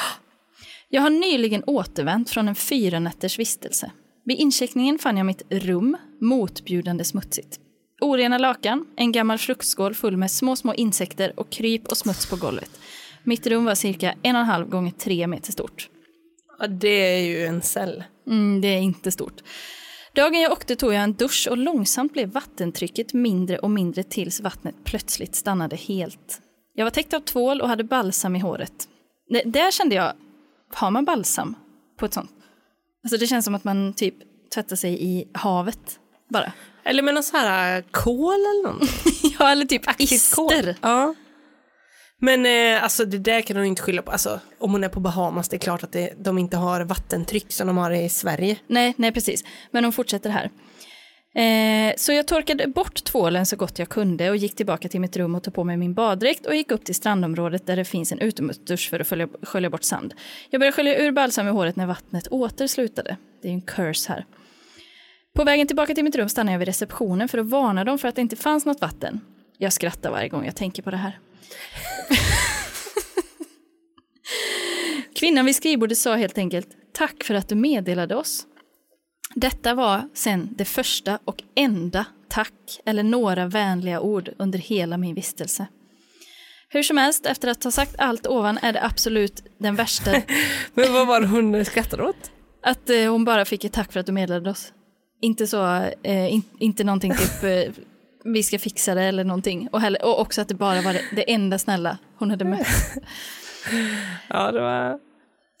Jag har nyligen återvänt från en fyra nätters vistelse. Vid incheckningen fann jag mitt rum motbjudande smutsigt. Orena lakan, en gammal fruktskål full med små, små insekter och kryp och smuts på golvet. Mitt rum var cirka en och en halv gånger tre meter stort. Ja, det är ju en cell. Mm, det är inte stort. Dagen jag åkte tog jag en dusch och långsamt blev vattentrycket mindre och mindre tills vattnet plötsligt stannade helt. Jag var täckt av tvål och hade balsam i håret. Det, där kände jag, har man balsam på ett sånt? Alltså det känns som att man typ tvättar sig i havet bara. Eller med någon sån här äh, kol eller något. ja, eller typ Ister. ister. Ja. Men eh, alltså det där kan hon inte skylla på. Alltså, om hon är på Bahamas, det är klart att det, de inte har vattentryck som de har i Sverige. Nej, nej precis. Men hon fortsätter här. Eh, så jag torkade bort tvålen så gott jag kunde och gick tillbaka till mitt rum och tog på mig min baddräkt och gick upp till strandområdet där det finns en utomhusdusch för att följa, skölja bort sand. Jag började skölja ur balsam i håret när vattnet åter slutade. Det är ju en curse här. På vägen tillbaka till mitt rum stannade jag vid receptionen för att varna dem för att det inte fanns något vatten. Jag skrattar varje gång jag tänker på det här. Kvinnan vid skrivbordet sa helt enkelt tack för att du meddelade oss. Detta var sen det första och enda tack eller några vänliga ord under hela min vistelse. Hur som helst, efter att ha sagt allt ovan är det absolut den värsta Men vad var det hon skrattade åt? att eh, hon bara fick ett tack för att du meddelade oss. Inte så, eh, in, inte någonting typ eh, vi ska fixa det eller någonting. Och, heller, och också att det bara var det, det enda snälla hon hade mött. Ja, det var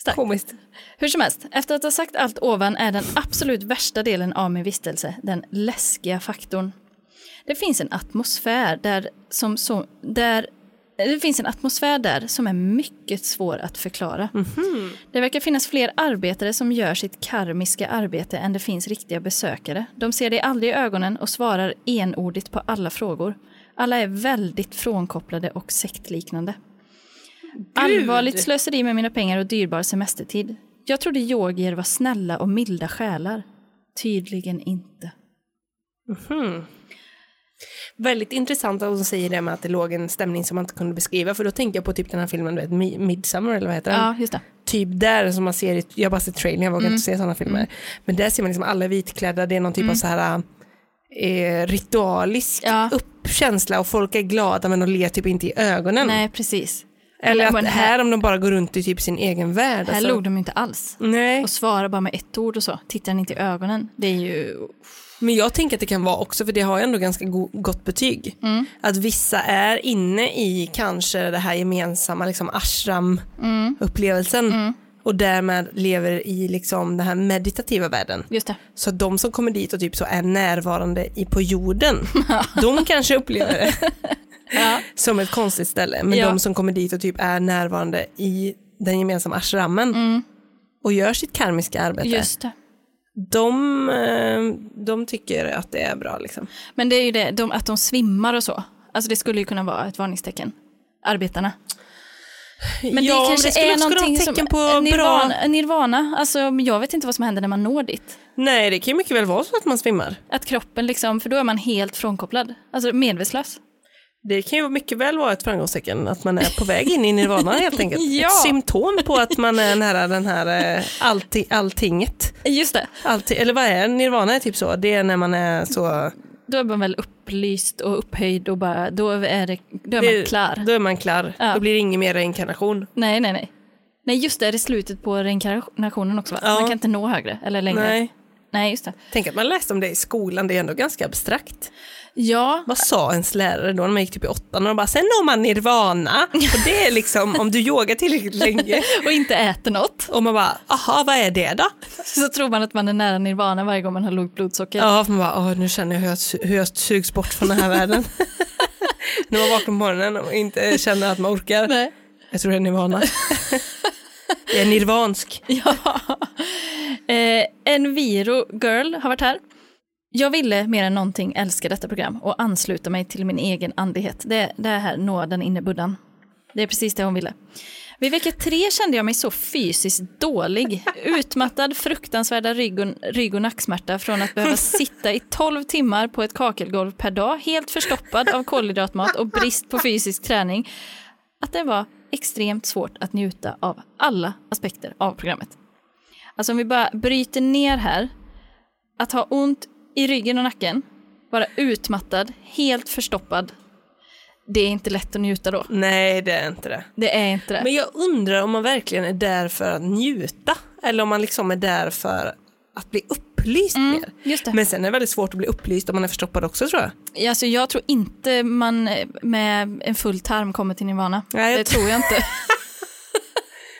Starkt. komiskt. Hur som helst, efter att ha sagt allt ovan är den absolut värsta delen av min vistelse den läskiga faktorn. Det finns en atmosfär där som, som där det finns en atmosfär där som är mycket svår att förklara. Det verkar finnas fler arbetare som gör sitt karmiska arbete än det finns riktiga besökare. De ser dig aldrig i ögonen och svarar enordigt på alla frågor. Alla är väldigt frånkopplade och sektliknande. Allvarligt slöseri med mina pengar och dyrbar semestertid. Jag trodde yogier var snälla och milda själar. Tydligen inte. Väldigt intressant att hon säger det med att det låg en stämning som man inte kunde beskriva. För då tänker jag på typ den här filmen, du vet, Mi- Midsommar eller vad heter den? Ja, just det. typ där som man ser, i- jag har bara sett trailern, jag vågar inte se sådana filmer. Men där ser man liksom alla vitklädda, det är någon typ av så här eh, ritualisk Ja. uppkänsla och folk är glada men de ler typ inte i ögonen. Nej, precis. Eller att Men här om de bara går runt i typ sin egen värld. här log de inte alls. Nej, alltså- Och svarar bara med ett ord och så. Tittar den inte i ögonen. Det är ju... men jag tänker att det kan vara också, för det har ju ändå ganska go- gott betyg. Att vissa är inne i kanske det här gemensamma liksom ashram-upplevelsen och därmed lever i liksom den här meditativa världen. Just det. Så att de som kommer dit och typ så är närvarande i, på jorden, de kanske upplever det Ja. som ett konstigt ställe. Men Ja. de som kommer dit och typ är närvarande i den gemensamma ashrammen och gör sitt karmiska arbete, Mm. Just det. de, eh, de tycker att det är bra. Liksom. Men det är ju det, de, att de svimmar och så. Alltså det skulle ju kunna vara ett varningstecken. Arbetarna. Men det kanske är någonting vara tecken som... på nirvana, bra... nirvana. Alltså jag vet inte vad som händer när man når dit. Nej, det kan ju mycket väl vara så att man svimmar. Att kroppen liksom, för då är man helt frånkopplad. Alltså medvetslös. Det kan ju mycket väl vara ett framgångstecken att man är på väg in i nirvana helt enkelt. Ja. Ett symptom på att man är nära den här eh, allti, alltinget. Just det. Alltid, eller vad är nirvana är typ så, det är när man är så, Då är man väl upplyst och upphöjd och bara, då är, det, då är man det, klar. då är man klar, Ja. då blir det ingen mer reinkarnation. Nej, nej, nej. Nej, just det, det är slutet på reinkarnationen också va? Ja. Man kan inte nå högre eller längre. Nej. Nej, just det. Tänk att man läste om det i skolan, det är ändå ganska abstrakt. Ja, Vad sa ens lärare då när man gick typ i åttan? Och de bara, sen når man nirvana. Och det är liksom om du yogar tillräckligt länge. och inte äter något. Och man bara, aha, vad är det då? Så tror man att man är nära nirvana varje gång man har lågt blodsocker. Ja, för man bara, åh, nu känner jag hur jag, su- hur jag sugs bort från den här världen. när man vaknar på morgonen och inte känner att man orkar. Nej. Jag tror det är nirvana. jag är nirvansk. Ja. Eh, en Viro Girl har varit här. Jag ville mer än någonting älska detta program och ansluta mig till min egen andlighet. Det, det är här nåden inne i buddhan. Det är precis det hon ville. Vid vecka tre kände jag mig så fysiskt dålig. Utmattad, fruktansvärda rygg och, rygg och nacksmärta från att behöva sitta i 12 timmar på ett kakelgolv per dag, helt förstoppad av kolhydratmat och brist på fysisk träning att det var extremt svårt att njuta av alla aspekter av programmet. Alltså om vi bara bryter ner här. Att ha ont i ryggen och nacken, vara utmattad, helt förstoppad. Det är inte lätt att njuta då. Nej, det är inte det. Det är inte det. Men jag undrar om man verkligen är där för att njuta. Eller om man liksom är där för att bli upplyst Mm. mer. just det. Men sen är det väldigt svårt att bli upplyst om man är förstoppad också tror jag. Alltså jag tror inte man med en full tarm kommer till nirvana. Nej. Det tror jag inte.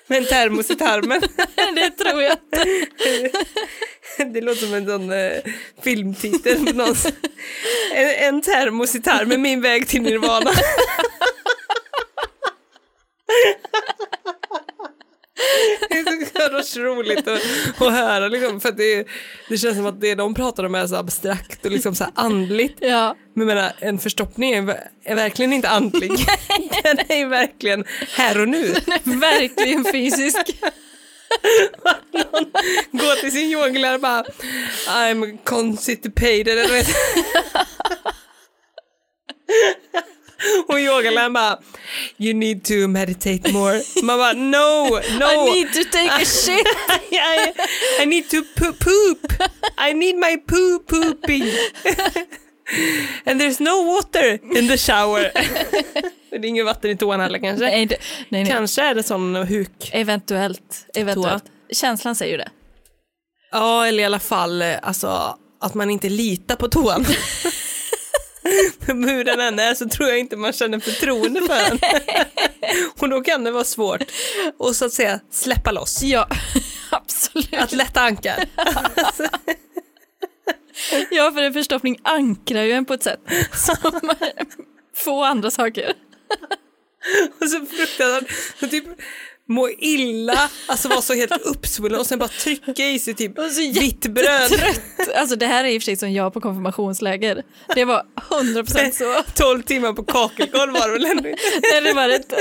Med en termos i tarmen. det tror jag inte. det låter som en sån eh, filmtitel. på någon- en, en termos i tarmen, min väg till nirvana. Det är så jävla roligt att, att höra liksom, för att det, det känns som att det de pratar om är så abstrakt och liksom så här andligt. Ja. Men jag menar, en förstoppning är, ver- är verkligen inte andlig. Den är ju verkligen här och nu. Verkligen fysisk. Gå till sin yogalärare och bara I'm constipated. Eller vet. Och yogaläraren bara You need to meditate more. Man bara no, I no. need to take a shit. I, I need to poo- poop. I need my poo pooping. And there's no water in the shower. Det är inget vatten i toan heller kanske. Nej, det- nej, nej. Kanske är det sån huk. Eventuellt. eventuellt. Känslan säger ju det. Ja, eller i alla fall eh, alltså, att man inte litar på toan. Men Hur den än är så tror jag inte man känner förtroende för den. Och då kan det vara svårt att så att säga släppa loss. Ja, absolut. Att lätta ankar. Ja, för en förstoppning ankrar ju en på ett sätt som få andra saker. Och så fruktansvärt, och typ må illa, alltså vara så helt uppsvullen och sen bara trycka i sig typ vitt bröd. Trött. Alltså det här är i och för sig som jag på konfirmationsläger. Det var 100% så. 12 timmar på kakelgolv var det väl ändå inte? Nej, det var det inte.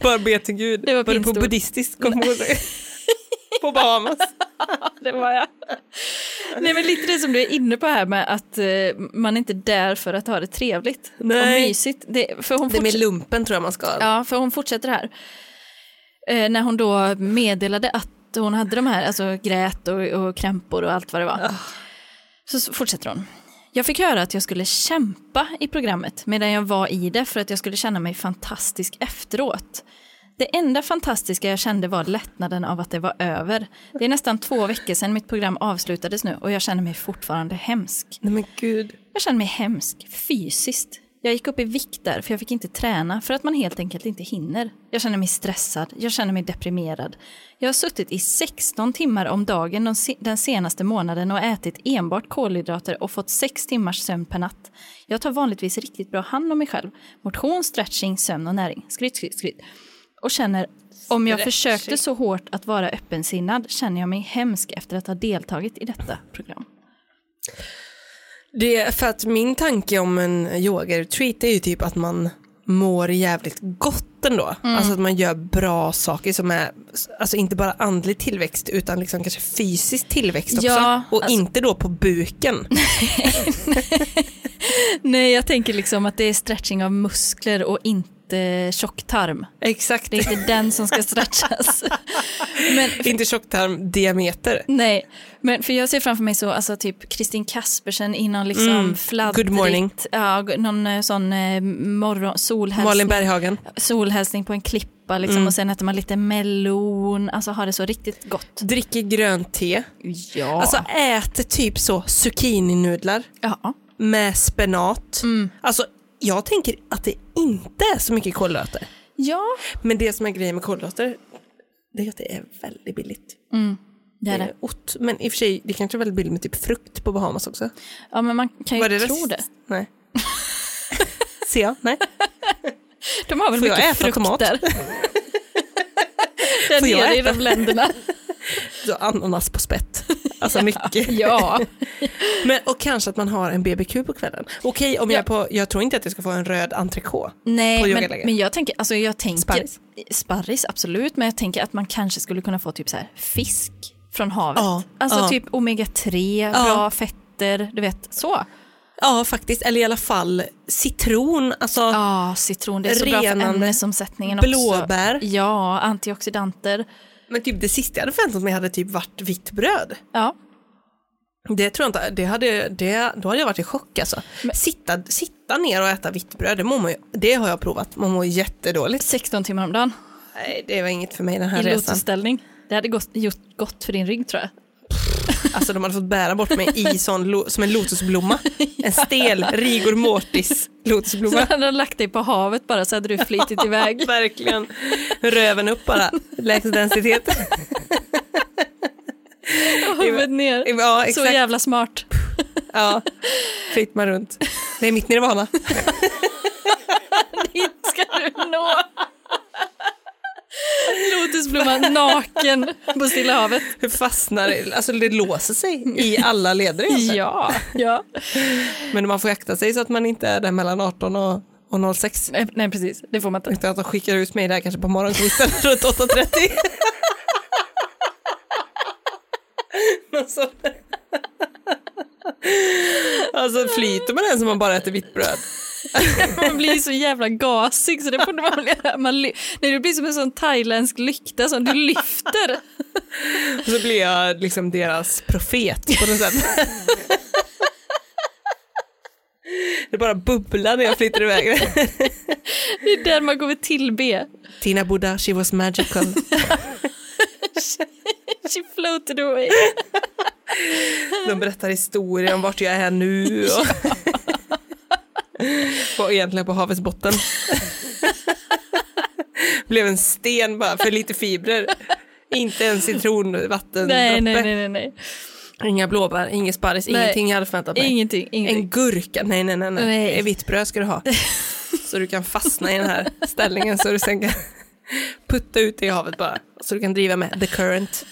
Bara be till gud. Det var var det på pinnstol. buddhistisk konfirmation? På Bahamas. Det var jag. Nej, men lite det som du är inne på här med att eh, man är inte är där för att ha det trevligt Nej. och mysigt. Det, för hon Det är med fortsätter- lumpen tror jag man ska ha. Ja, för hon fortsätter här. Eh, när hon då meddelade att hon hade de här, alltså grät och, och krämpor och allt vad det var. Så s- fortsätter hon. Jag fick höra att jag skulle kämpa i programmet medan jag var i det för att jag skulle känna mig fantastisk efteråt. Det enda fantastiska jag kände var lättnaden av att det var över. Det är nästan två veckor sedan mitt program avslutades nu och jag känner mig fortfarande hemsk. Nej men gud. Jag kände mig hemsk, fysiskt. Jag gick upp i vikt där, för jag fick inte träna, för att man helt enkelt inte hinner. Jag känner mig stressad, jag känner mig deprimerad. Jag har suttit i 16 timmar om dagen de se- den senaste månaden och ätit enbart kolhydrater och fått 6 timmars sömn per natt. Jag tar vanligtvis riktigt bra hand om mig själv. Motion, stretching, sömn och näring. Skryt, skryt, skryt. Och känner, om jag Stretching. försökte så hårt att vara öppensinnad känner jag mig hemsk efter att ha deltagit i detta program. Det är för att min tanke om en yoga-retreat är ju typ att man mår jävligt gott ändå. Mm. Alltså att man gör bra saker som är, alltså inte bara andlig tillväxt utan liksom kanske fysisk tillväxt också. Ja, och alltså- inte då på buken. Nej, jag tänker liksom att det är stretching av muskler och inte inte tjocktarm. Exakt. Det är inte den som ska stretchas. men, Inte tjocktarmdiameter. nej, men för jag ser framför mig så, alltså typ Kristin Kaspersen i någon liksom Mm. fladdrigt, Good morning. ja, g- någon eh, sån eh, morgon, Malin Mm. solhälsning, Berghagen. solhälsning på en klippa liksom och sen äter man lite melon, alltså har det så riktigt gott. Dricker grönt te. Ja. Alltså äter typ så zucchinidnudlar ja. med spenat. Mm. Alltså jag tänker att det inte är så mycket kolhydrater. Ja, Men det som är grejen med kolhydrater, det är att det är väldigt billigt. det är det. ot- men i och för sig, det kanske är väldigt billigt med typ frukt på Bahamas också. Ja, men man kan ju Var det tro rest? det. Nej. Ser jag? Nej. De har väl Får jag mycket äta frukt tomat? där. där Får jag nere i äta? de länderna. Så ananas på spett. Alltså mycket. ja. Men, och kanske att man har en BBQ på kvällen. Okej, om jag är på, jag tror inte att jag ska få en röd entrecote. På Nej, men, yogaläger. men jag tänker, alltså jag tänker Sparris. sparris, absolut, men jag tänker att man kanske skulle kunna få typ så här fisk från havet. Ja, alltså ja. typ omega-3, bra fetter, du vet så. Ja, faktiskt. Eller i alla fall citron. Alltså, Ja, citron, det är så bra för Renande. ämnesomsättningen Blåbär. också. Ja, antioxidanter. Men typ det sista jag hade förväntat mig hade typ varit vitt bröd. Ja, Det tror jag inte, det hade, det, då hade jag varit i chock alltså. sitta, sitta ner och äta vitt bröd, det, mår man ju, det har jag provat, man mår jättedåligt. 16 timmar om dagen Nej, det var inget för mig den här i resan. lotusställning. Det hade gått, gjort gott för din rygg tror jag. Alltså de hade fått bära bort mig i sån, lo- som en lotusblomma. En stel rigor mortis Så lotusblomma. hade de lagt dig på havet bara så hade du flytit iväg. Verkligen. Röven upp bara, lägst densitet. Och huvudet ner. Ja, Så exakt. jävla smart. Ja. Fritt man runt. Det är mitt nirvana. Dit ska du nå. Lotusblomma naken på Stilla havet. Det fastnar, i- alltså det låser sig i alla leder egentligen. Ja. ja. Men man får akta sig så att man inte är där mellan 18 och, och 06. Nej, nej, precis. Det får man inte. Utan att de skickar ut mig där kanske på morgonkvisten runt 8.30. Någon sån- Alltså flyter man ens om man bara äter vitt bröd? Man blir så jävla gasig så det borde man väl göra. Man ly- nej, det blir som en sån thailändsk lykta som du lyfter. Och så blir jag liksom deras profet på något sätt. Det bara bubblar när jag flyter iväg. Det är där man går vid tillbe. Tina Buddha, she was magical. She floated away. De berättar historier om vart jag är nu. Och på, egentligen på havets botten. Blev en sten bara för lite fibrer. Inte en citronvattendroppe. Nej, nej, nej, nej, nej. Inga blåbär, inget sparris, Nej. ingenting jag hade förväntat mig. Ingenting, En ingenting. gurka, nej, nej, nej. nej. Nej. Ett Vitt bröd ska du ha. Så du kan fastna i den här ställningen så du sen kan putta ut det i havet bara. Så du kan driva med the current.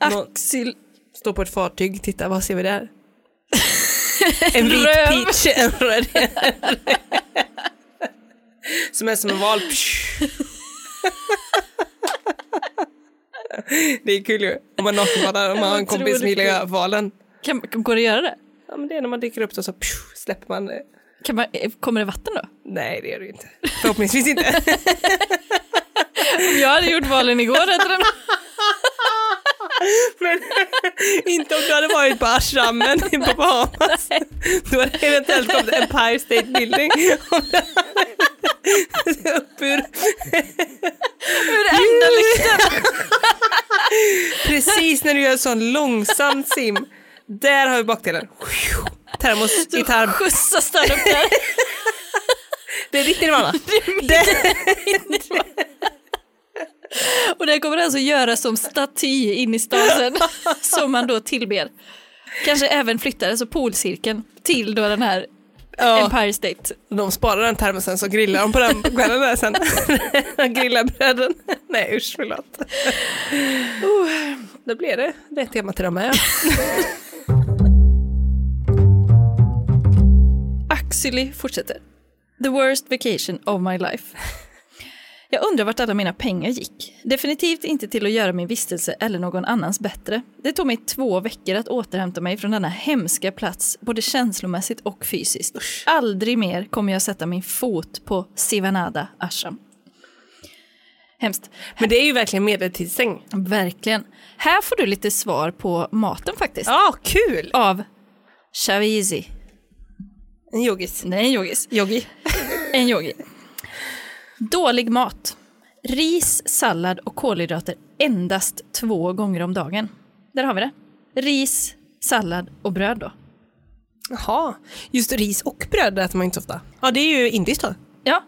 Ah. Axel. Stå på ett fartyg, titta, vad ser vi där? En vit Röv. peach, en röd. som är som en val. det är kul ju, om man nakenbadar, om man har en kompis som Otroligt gillar kul. att göra valen. Kan, går det att göra det? Ja men det är när man dyker upp då så psh, släpper man. det. Kan man, eh, kommer det vatten då? Nej det gör du inte. Förhoppningsvis inte. Om jag hade gjort valen igår hade den... men inte om du hade varit på ashramen på Bahamas. Då hade det eventuellt kommit Empire State Building. Om du hade- upp ur Hur enda lykten? Precis när du gör en sån långsam sim. Där har vi bakdelen. Termos, gitarr. Skjutsas den upp där? Det är ditt nirvana. Och det kommer alltså göra som staty in i staden som man då tillber. Kanske även flyttar alltså polcirkeln till då den här Ja, Empire State. de sparar den termosen så grillar de på den på kvällen där sen. De grillar bröden. Nej usch förlåt. Oh, Då blir det det temat till dem med. Axily fortsätter. The worst vacation of my life. Jag undrar vart alla mina pengar gick. Definitivt inte till att göra min vistelse eller någon annans bättre. Det tog mig två veckor att återhämta mig från denna hemska plats, både känslomässigt och fysiskt. Aldrig mer kommer jag sätta min fot på Sivanada Ashram. Hemskt. Men det är ju verkligen medeltidssäng. Verkligen. Här får du lite svar på maten faktiskt. Ja, kul! Av Shavizi. En yogis. Nej, en yogis. Yogi. En yogi. Dålig mat. Ris, sallad och kolhydrater endast två gånger om dagen. Där har vi det. Ris, sallad och bröd då. Jaha. Just ris och bröd äter man ju inte så ofta. Ja, det är ju indiskt då. Ja.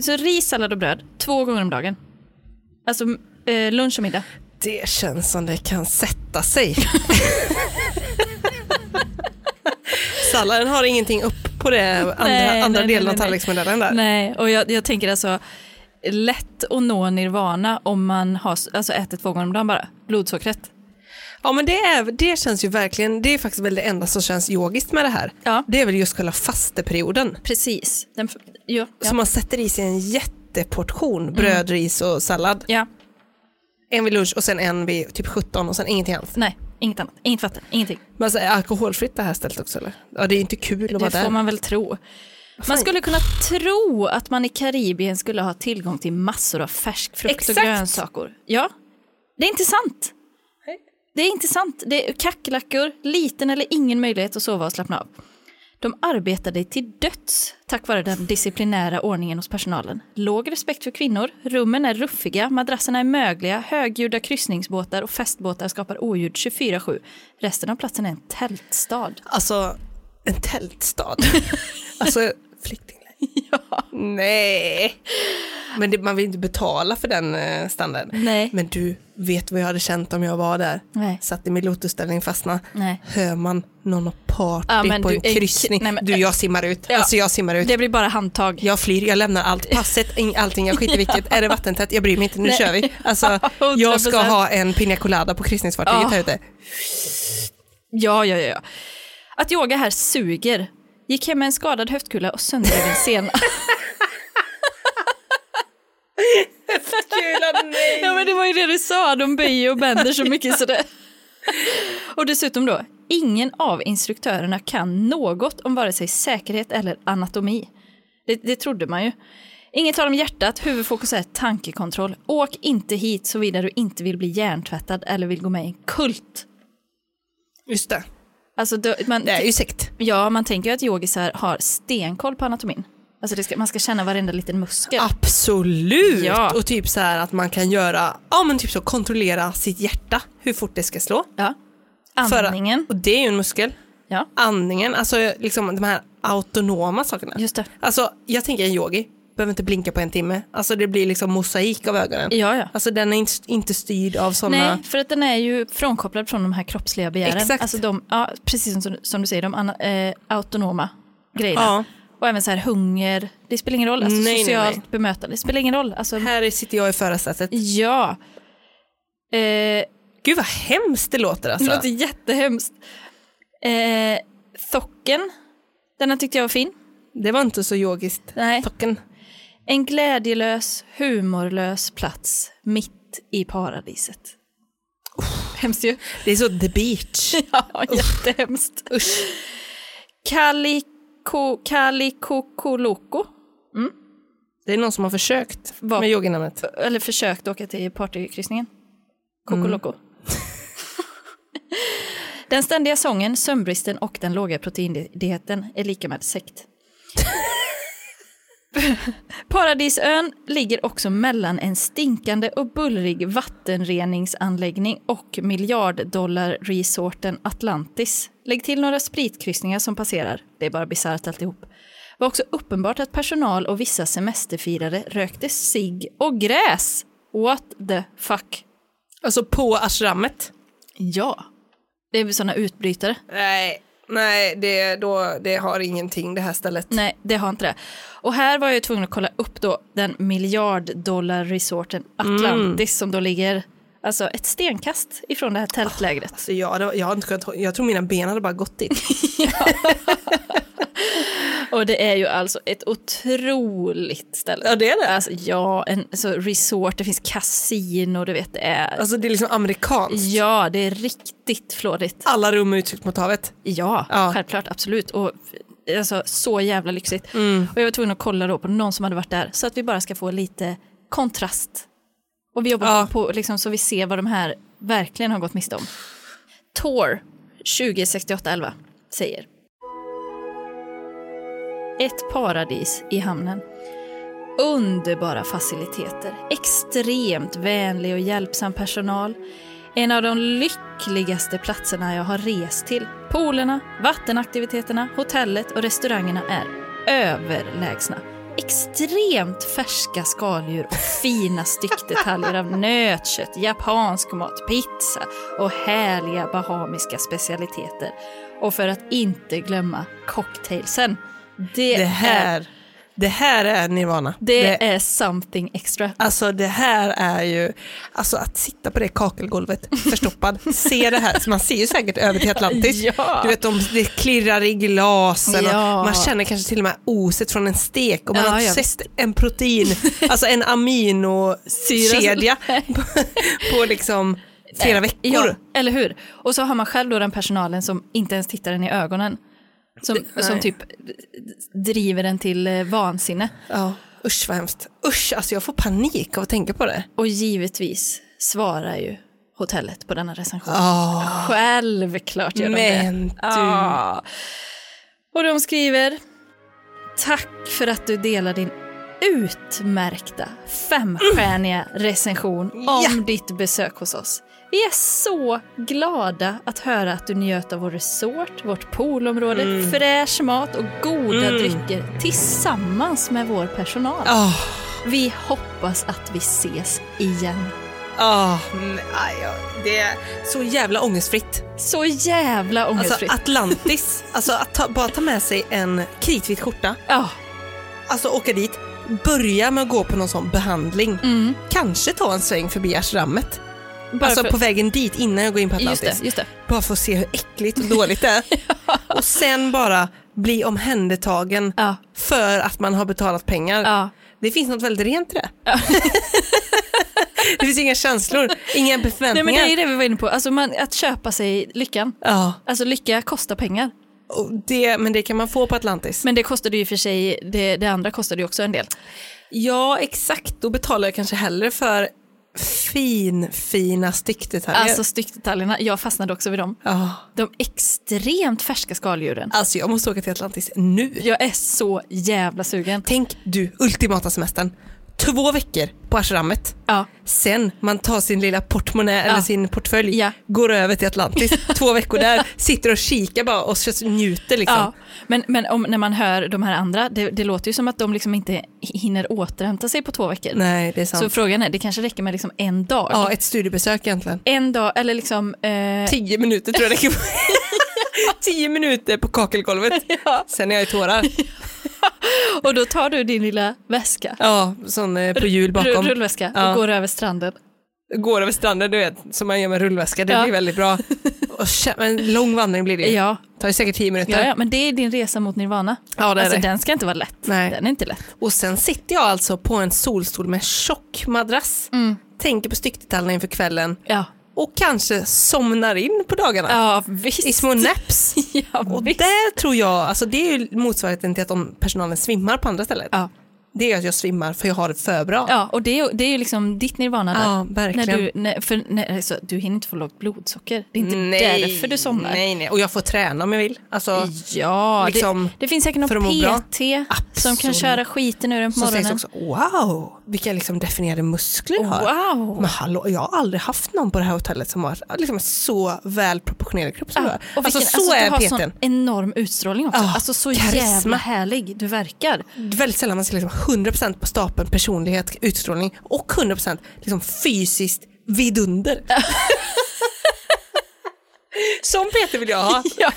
Så ris, sallad och bröd två gånger om dagen. Alltså eh, lunch och middag. Det känns som det kan sätta sig. Salladen har ingenting upp på det andra, Nej, andra nej, delen nej, nej. av tallriksmodellen där. Nej, och jag, jag tänker alltså lätt att nå nirvana om man har, s- alltså äter två gånger om dagen bara. Blodsockret. Ja men det, är, det känns ju verkligen, det är faktiskt väl det enda som känns yogiskt med det här. Ja. Det är väl just själva fasteperioden. Precis. Den, f- ja, ja. Så man sätter i sig en jätteportion bröd, ris och sallad. ja, En vid lunch och sen en vid typ 17 och sen ingenting annat. nej, inget annat, inget vatten, ingenting. Men alltså, är alkoholfritt det här stället också eller? Ja det är ju inte kul att vara Det där. får man väl tro. Man skulle kunna tro att man i Karibien skulle ha tillgång till massor av färsk frukt Exakt. och grönsaker. Ja, det är inte sant. Det är inte sant. Det är kackerlackor, liten eller ingen möjlighet att sova och slappna av. De arbetade till döds tack vare den disciplinära ordningen hos personalen. Låg respekt för kvinnor, rummen är ruffiga, madrasserna är mögliga, högljudda kryssningsbåtar och festbåtar skapar oljud 24-7. Resten av platsen är en tältstad. Alltså en tältstad. alltså flyktingläger. Ja. Nej. Men det, man vill inte betala för den eh, standarden. Nej. Men du, vet vad jag hade känt om jag var där? Nej. Satt i min lotusställning fastna. Nej. Hör man någon ha party Ja, men på du en är- kryssning. nej, men- du, jag simmar ut. Ja. Alltså jag simmar ut. Det blir bara handtag. Jag flyr, jag lämnar allt, passet, ing- allting, jag skiter i vilket. Är det vattentätt, jag bryr mig inte, nu kör vi. Alltså, jag ska 100%. ha en pina colada på kryssningsfartyget Ja. här ute. Ja, ja, ja, ja. Att yoga här suger. Gick hem med en skadad höftkula och sönderriven sena. ja, men det var ju det du sa, de böjer och bänder så mycket så det... och dessutom då, ingen av instruktörerna kan något om vare sig säkerhet eller anatomi. Det, det trodde man ju. Inget tal om hjärtat, huvudfokus är tankekontroll. Åk inte hit såvida du inte vill bli hjärntvättad eller vill gå med i en kult. Just det, Alltså, då, man, det är ju sekt. Ja, man tänker ju att yogisar har stenkoll på anatomin. Alltså det ska, man ska känna varenda liten muskel. Absolut! Ja. Och typ så här att man kan göra, ja men typ så kontrollera sitt hjärta, hur fort det ska slå. Ja. För- Andningen. och det är ju en muskel. Ja, Andningen, alltså liksom de här autonoma sakerna. just det. Alltså jag tänker en yogi, behöver inte blinka på en timme. Alltså det blir liksom mosaik av ögonen. Ja, ja. Alltså den är inte, inte styrd av sådana. Nej, för att den är ju frånkopplad från de här kroppsliga begären. Exakt. Alltså de, ja, precis som, som du säger, de ana, eh, autonoma grejerna. Ja. Och även så här hunger, det spelar ingen roll. Alltså Nej, nej, socialt nej. bemötande, det spelar ingen roll. Alltså, Här sitter jag i förarsätet. Mm. ja. Eh, Gud vad hemskt det låter alltså. Det låter jättehemskt. Eh, thocken, den här tyckte jag var fin. Det var inte så yogiskt. Nej. Tocken. En glädjelös, humorlös plats mitt i paradiset. Hemskt ju. Det är så the beach. Ja, jättehemskt. Usch. Kaliko, Kalikokoloko, Det är någon som har försökt Vad? med yoginamnet. eller försökt åka till partykryssningen. Kokoloko. den ständiga sången, sömnbristen och den låga proteindieten är lika med sekt. Paradisön ligger också mellan en stinkande och bullrig vattenreningsanläggning och miljarddollarresorten Atlantis. Lägg till några spritkryssningar som passerar. Det är bara bisarrt alltihop. Var också uppenbart att personal och vissa semesterfirare rökte cigg och gräs. What the fuck? Alltså på ashramet. Ja. Det är väl sådana utbrytare. Nej, nej det, då, det har ingenting det här stället. Nej, det har inte det. Och här var jag ju tvungen att kolla upp då den miljarddollarresorten Mm. Atlantis som då ligger alltså ett stenkast ifrån det här tältlägret. Alltså jag, hade- jag, hade inte kunnat, jag tror mina ben hade bara gått dit. Och det är ju alltså ett otroligt ställe. Oh. Ja, det är det. Alltså, ja, en så resort, det finns kasino, du vet det är. Alltså det är liksom amerikanskt. ja, det är riktigt flådigt. Alla rum är utsikt mot havet. Ja, Ja. självklart, absolut. Och alltså, så jävla lyxigt. Mm. Och jag var tvungen att kolla då på någon som hade varit där så att vi bara ska få lite kontrast. Och vi jobbar Ja. på, liksom, så vi ser vad de här verkligen har gått miste om. Tor 206811 säger. Ett paradis i hamnen. Underbara faciliteter, extremt vänlig och hjälpsam personal. En av de lyckligaste platserna jag har rest till. Poolerna, vattenaktiviteterna, hotellet och restaurangerna är överlägsna. Extremt färska skaldjur och fina styckdetaljer av nötkött, japansk mat, pizza och härliga bahamiska specialiteter. Och för att inte glömma cocktailsen. Det, Det är här, det här är nirvana. det, är something extra. Alltså det här är ju, alltså att sitta på det kakelgolvet förstoppad, se det här, man ser ju säkert över till Atlantis. Ja. Du vet de, det klirrar i glasen Ja. och man känner kanske till och med oset från en stek och man Ja, har ja, sett en protein, alltså en aminokedja på, på liksom flera veckor. Ja, eller hur? Och så har man själv då den personalen som inte ens tittar den i ögonen. Som, som nej. typ driver den till eh, vansinne. Ja, usch vad hemskt. Usch, alltså jag får panik av att tänka på det. Och givetvis svarar ju hotellet på denna recension. Ja, Självklart gör de Ah. men det. du. Ja. Och de skriver Tack för att du delar din utmärkta femstjärniga recension om Ja. ditt besök hos oss. Vi är så glada att höra att du njöt av vår resort, vårt poolområde, Mm. fräsch mat och goda drycker tillsammans med vår personal. Ah, Vi hoppas att vi ses igen. ah, men, aj, ja, det är så jävla ångestfritt. Så jävla Alltså ångestfritt. Atlantis, alltså att ta, bara ta med sig en kritvit skjorta, Ja. alltså åka dit, börja med att gå på någon sån behandling, Mm. kanske ta en sväng förbi ashrammet. Bara alltså för- på vägen dit innan jag går in på Just Atlantis. det, just det. Bara för att se hur äckligt och dåligt det är. Och sen bara bli omhändertagen Ja. för att man har betalat pengar. Ja. Det finns något väldigt rent i det. det finns inga känslor, inga Nej, förväntningar. men det är ju det vi var inne på, alltså man, att köpa sig lyckan. Ja, Alltså lycka kostar pengar. och det, men det kan man få på Atlantis. Men det kostade ju i och för sig, det, det andra kostade ju också en del. Ja, exakt. Då betalar jag kanske hellre för fin, fina styckdetaljer. Alltså styckdetaljerna, jag fastnade också vid dem. Ja. De extremt färska skaldjuren. alltså jag måste åka till Atlantis nu. Jag är så jävla sugen. Tänk du, ultimata semestern. Två veckor på ashrammet. Ja, Sen man tar sin lilla portmonnä eller sin portfölj, Ja. går över till Atlantis, två veckor där, sitter och kikar bara och så njuter liksom. ja. Men, men om, när man hör de här andra, det, det låter ju som att de liksom inte hinner återhämta sig på två veckor. Nej, det är så sant. frågan är, det kanske räcker med liksom en dag. ja, ett studiebesök egentligen. En dag, eller liksom... Eh, Tio minuter tror jag det kan Tio minuter på kakelgolvet. Ja. Sen är jag i tårar. och då tar du din lilla väska, Ja, sån eh, på hjul rull- bakom. rullväska, Ja. och går över stranden. går över stranden, du vet, som man gör med rullväska. Det Ja. blir väldigt bra. Och kä- en lång vandring blir det. ju. Ja, Tar ju säkert tio minuter. Ja, ja, men det är din resa mot nirvana. Ja, det är alltså, det. Den ska inte vara lätt. Nej. Den är inte lätt. Och sen sitter jag alltså på en solstol med tjock madrass. Mm. Tänker på styckdetaljerna inför kvällen Ja, och kanske somnar in på dagarna. ja visst. I små naps. ja, Och visst. där tror jag, alltså det är ju motsvarigheten till att om personalen svimmar på andra stället. Ja. Det är att jag svimmar för jag har det för bra. ja, och det är, ju- det är ju liksom ditt nirvana där. Ja, verkligen. När du, när, för, när, alltså, du hinner inte få lågt blodsocker. Det är inte därför du somnar. Nej, nej. Och jag får träna om jag vill. Alltså, Ja, Liksom, det, det finns säkert för att någon må bra. PT som kan Absolut. köra skiten ur en på så sägs morgonen. också, wow, vilka liksom definierade muskler du har. Wow! Men hallå, jag har aldrig haft någon på det här hotellet som har liksom så väl proportionerad kropp som du Ja, har. och vilken, alltså så du har är sån peten. enorm utstrålning också. Ja, alltså så karisma. jävla härlig du verkar. Väldigt sällan man ser liksom 100% på stapeln personlighet, utstrålning och 100% liksom fysiskt vidunder. Som Peter vill jag ha. Ja.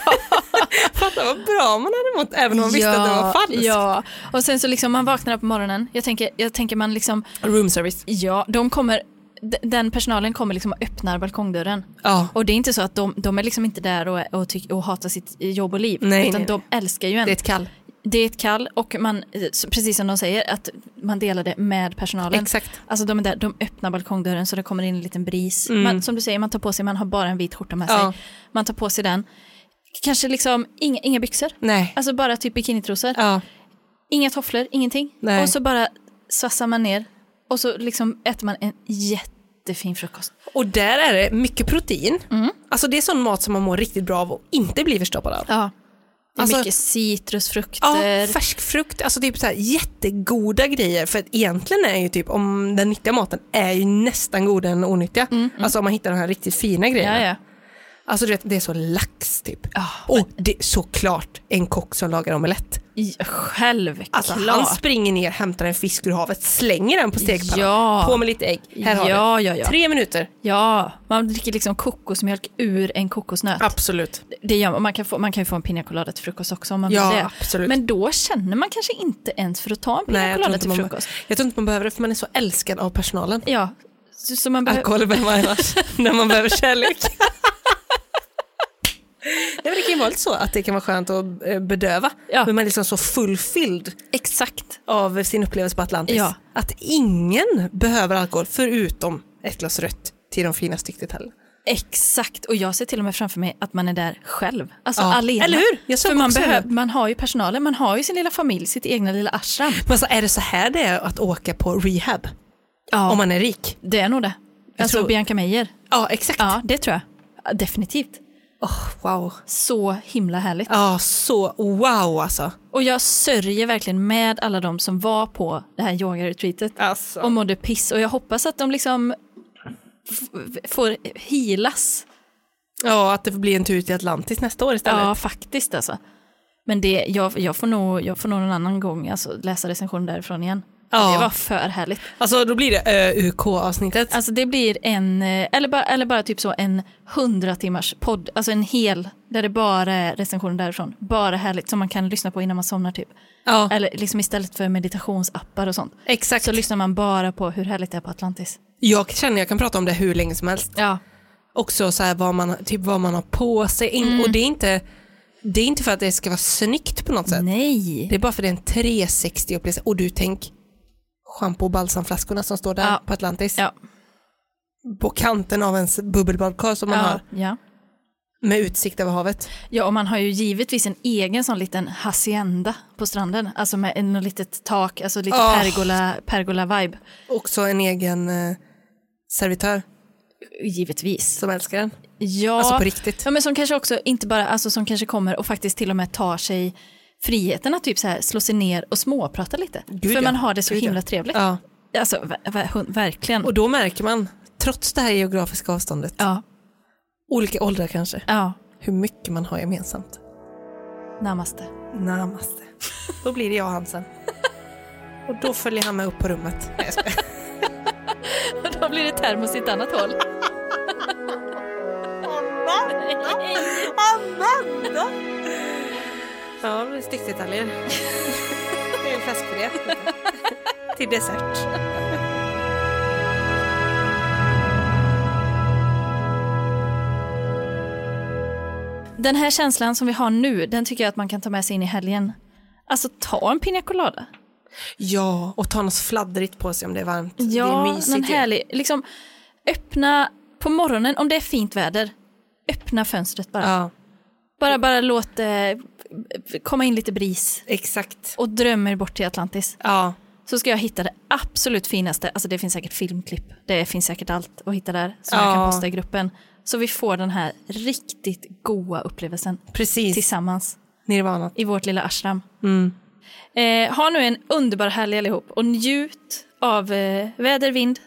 Fatta vad bra man hade mått även om man visste att det var falskt. Ja, och sen så liksom man vaknar upp på morgonen. Jag tänker, jag tänker man liksom, Room service. ja, de kommer, d- den personalen kommer liksom och öppnar balkongdörren. Ja. Och det är inte så att de, de är liksom inte där och, och, tyck, och hatar sitt jobb och liv. Nej, utan nej, de älskar ju en. Det är ett kall. det är ett kall och man, eh, så- precis som de säger, att man delar det med personalen. Exakt. Alltså de är där, de öppnar balkongdörren så det kommer in en liten bris. Mm. Man, som du säger, man tar på sig, man har bara en vit skjorta med Ja. sig. Man tar på sig den. Kanske liksom inga, inga byxor, Nej. alltså bara typ bikinitrosor. Ja. Inga tofflor, ingenting. Nej. Och så bara svassar man ner och så liksom äter man en jättefin frukost. Och där är det mycket protein. Mm. Alltså det är sån mat som man mår riktigt bra av och inte blir förstoppad av. Ja. Det är Alltså- mycket Ja, citrusfrukter. färsk frukt, alltså typ så här jättegoda grejer. För att egentligen är ju typ, om den nyttiga maten är ju nästan godare än den onyttiga. Alltså om man hittar de här riktigt fina Mm, ja, grejerna. ja. Alltså du vet, det är så lax typ. Ja, och det är såklart en kock som lagar omelett. I- Självklart. Alltså han springer ner, hämtar en fisk ur havet, slänger den på stekpannan. Ja. På med lite ägg, här har du. ja, ja, ja. Tre minuter. ja, man dricker liksom kokosmjölk ur en kokosnöt. Absolut. Det gör man. Man, kan få, man kan ju få en pina colada till frukost också om man Ja, vill det. absolut. Men då känner man kanske inte ens för att ta en Nej, pina jag tror, colada inte till man, frukost. jag tror inte man behöver det för man är så älskad av personalen. Ja, så, så man behöver... Alkohol behöver man annars när man behöver kärlek. Nej, men det kan ju vara lite så att det kan vara skönt att eh, bedöva. Ja. Men man är liksom så fullfylld Exakt. av sin upplevelse på Atlantis. Ja. Att ingen behöver alkohol förutom ett glas rött till de fina styckdetaljerna. Exakt, och jag ser till och med framför mig att man är där själv. Alltså Ja. allena. Eller hur? Jag såg För man, också behöv, det. man har ju personalen, man har ju sin lilla familj, sitt egna lilla ashram. Men så är det så här det är att åka på rehab Ja, om man är rik? det är nog det. Jag Alltså tror- Bianca Meijer. Ja, exakt. Ja, det tror jag. Ja, Definitivt. Åh, wow. Så himla härligt. Ja, så wow alltså. Och jag sörjer verkligen med alla de som var på det här yoga-retreatet Alltså. och mådde piss. Och jag hoppas att de liksom f- får healas. Ja, att det blir en tur till Atlantis nästa år istället. Ja, faktiskt alltså. Men det, jag, jag, får nog, jag får nog någon annan gång alltså, läsa recension därifrån igen. Ja. Det var för härligt. Alltså då blir det UK-avsnittet. Alltså det blir en, eh, eller bara, eller bara typ så en 100 timmars podd, alltså en hel, där det bara är recensioner därifrån. Bara härligt som man kan lyssna på innan man somnar typ. Ja, Eller liksom istället för meditationsappar och sånt. exakt. Så lyssnar man bara på hur härligt det är på Atlantis. jag känner jag kan prata om det hur länge som helst. Ja. Också så här vad man, typ vad man har på sig. In, Mm. Och det är, inte, det är inte för att det ska vara snyggt på något sätt. Nej. Det är bara för det är en 360-upplevelse. Och du tänk schampo och balsamflaskorna som står där Ja. på Atlantis. Ja. På kanten av ens bubbelbadkar som man Ja, har ja. med utsikt över havet. ja, och man har ju givetvis en egen sån liten hacienda på stranden. Alltså med en något litet tak, alltså lite Åh. pergola, pergola-vibe. Också en egen eh, servitör Givetvis. som älskar den. Ja. Alltså på riktigt. Ja, men som kanske också inte bara, alltså som kanske kommer och faktiskt till och med tar sig friheten att typ så här slå sig ner och småprata lite. För ja. man har det så Gud, ja. himla trevligt. Ja. Alltså ver- ver- hun- verkligen. Och då märker man, trots det här geografiska avståndet, Ja, olika åldrar kanske, ja, hur mycket man har gemensamt. namaste. Namaste. Då blir det jag och han sen. Och då följer han med upp på rummet. Nej, jag skojar. Då blir det termos i ett annat håll. Ja, det blir styckdetaljer. Det är en fläskfilé. Till dessert. Den här känslan som vi har nu, den tycker jag att man kan ta med sig in i helgen. Alltså ta en pina colada. Ja, och ta något fladdrigt på sig om det är varmt. det är Ja, mysigt. någon ju. härlig, liksom öppna på morgonen om det är fint väder. Öppna fönstret bara. Ja, Bara, bara låt det komma in lite bris exakt. och drömmer bort till Atlantis. Ja, Så ska jag hitta det absolut finaste, alltså det finns säkert filmklipp, det finns säkert allt att hitta där som jag Ja. kan posta i gruppen. Så vi får den här riktigt goa upplevelsen precis. tillsammans Nirvana. Mm, i vårt lilla ashram. Eh, ha nu en underbar helg allihop och njut av eh, väder, vind,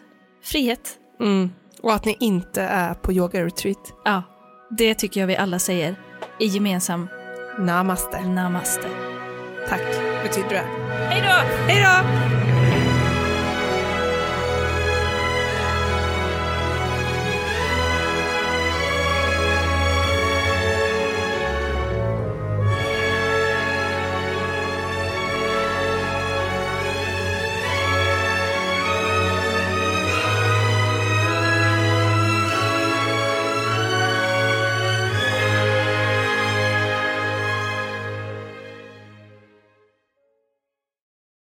frihet. Mm. Och att ni inte är på yoga-retreat. Ja, det tycker jag vi alla säger i gemensam Namaste. namaste. Tack. Betyder det? Hej då! Hej då!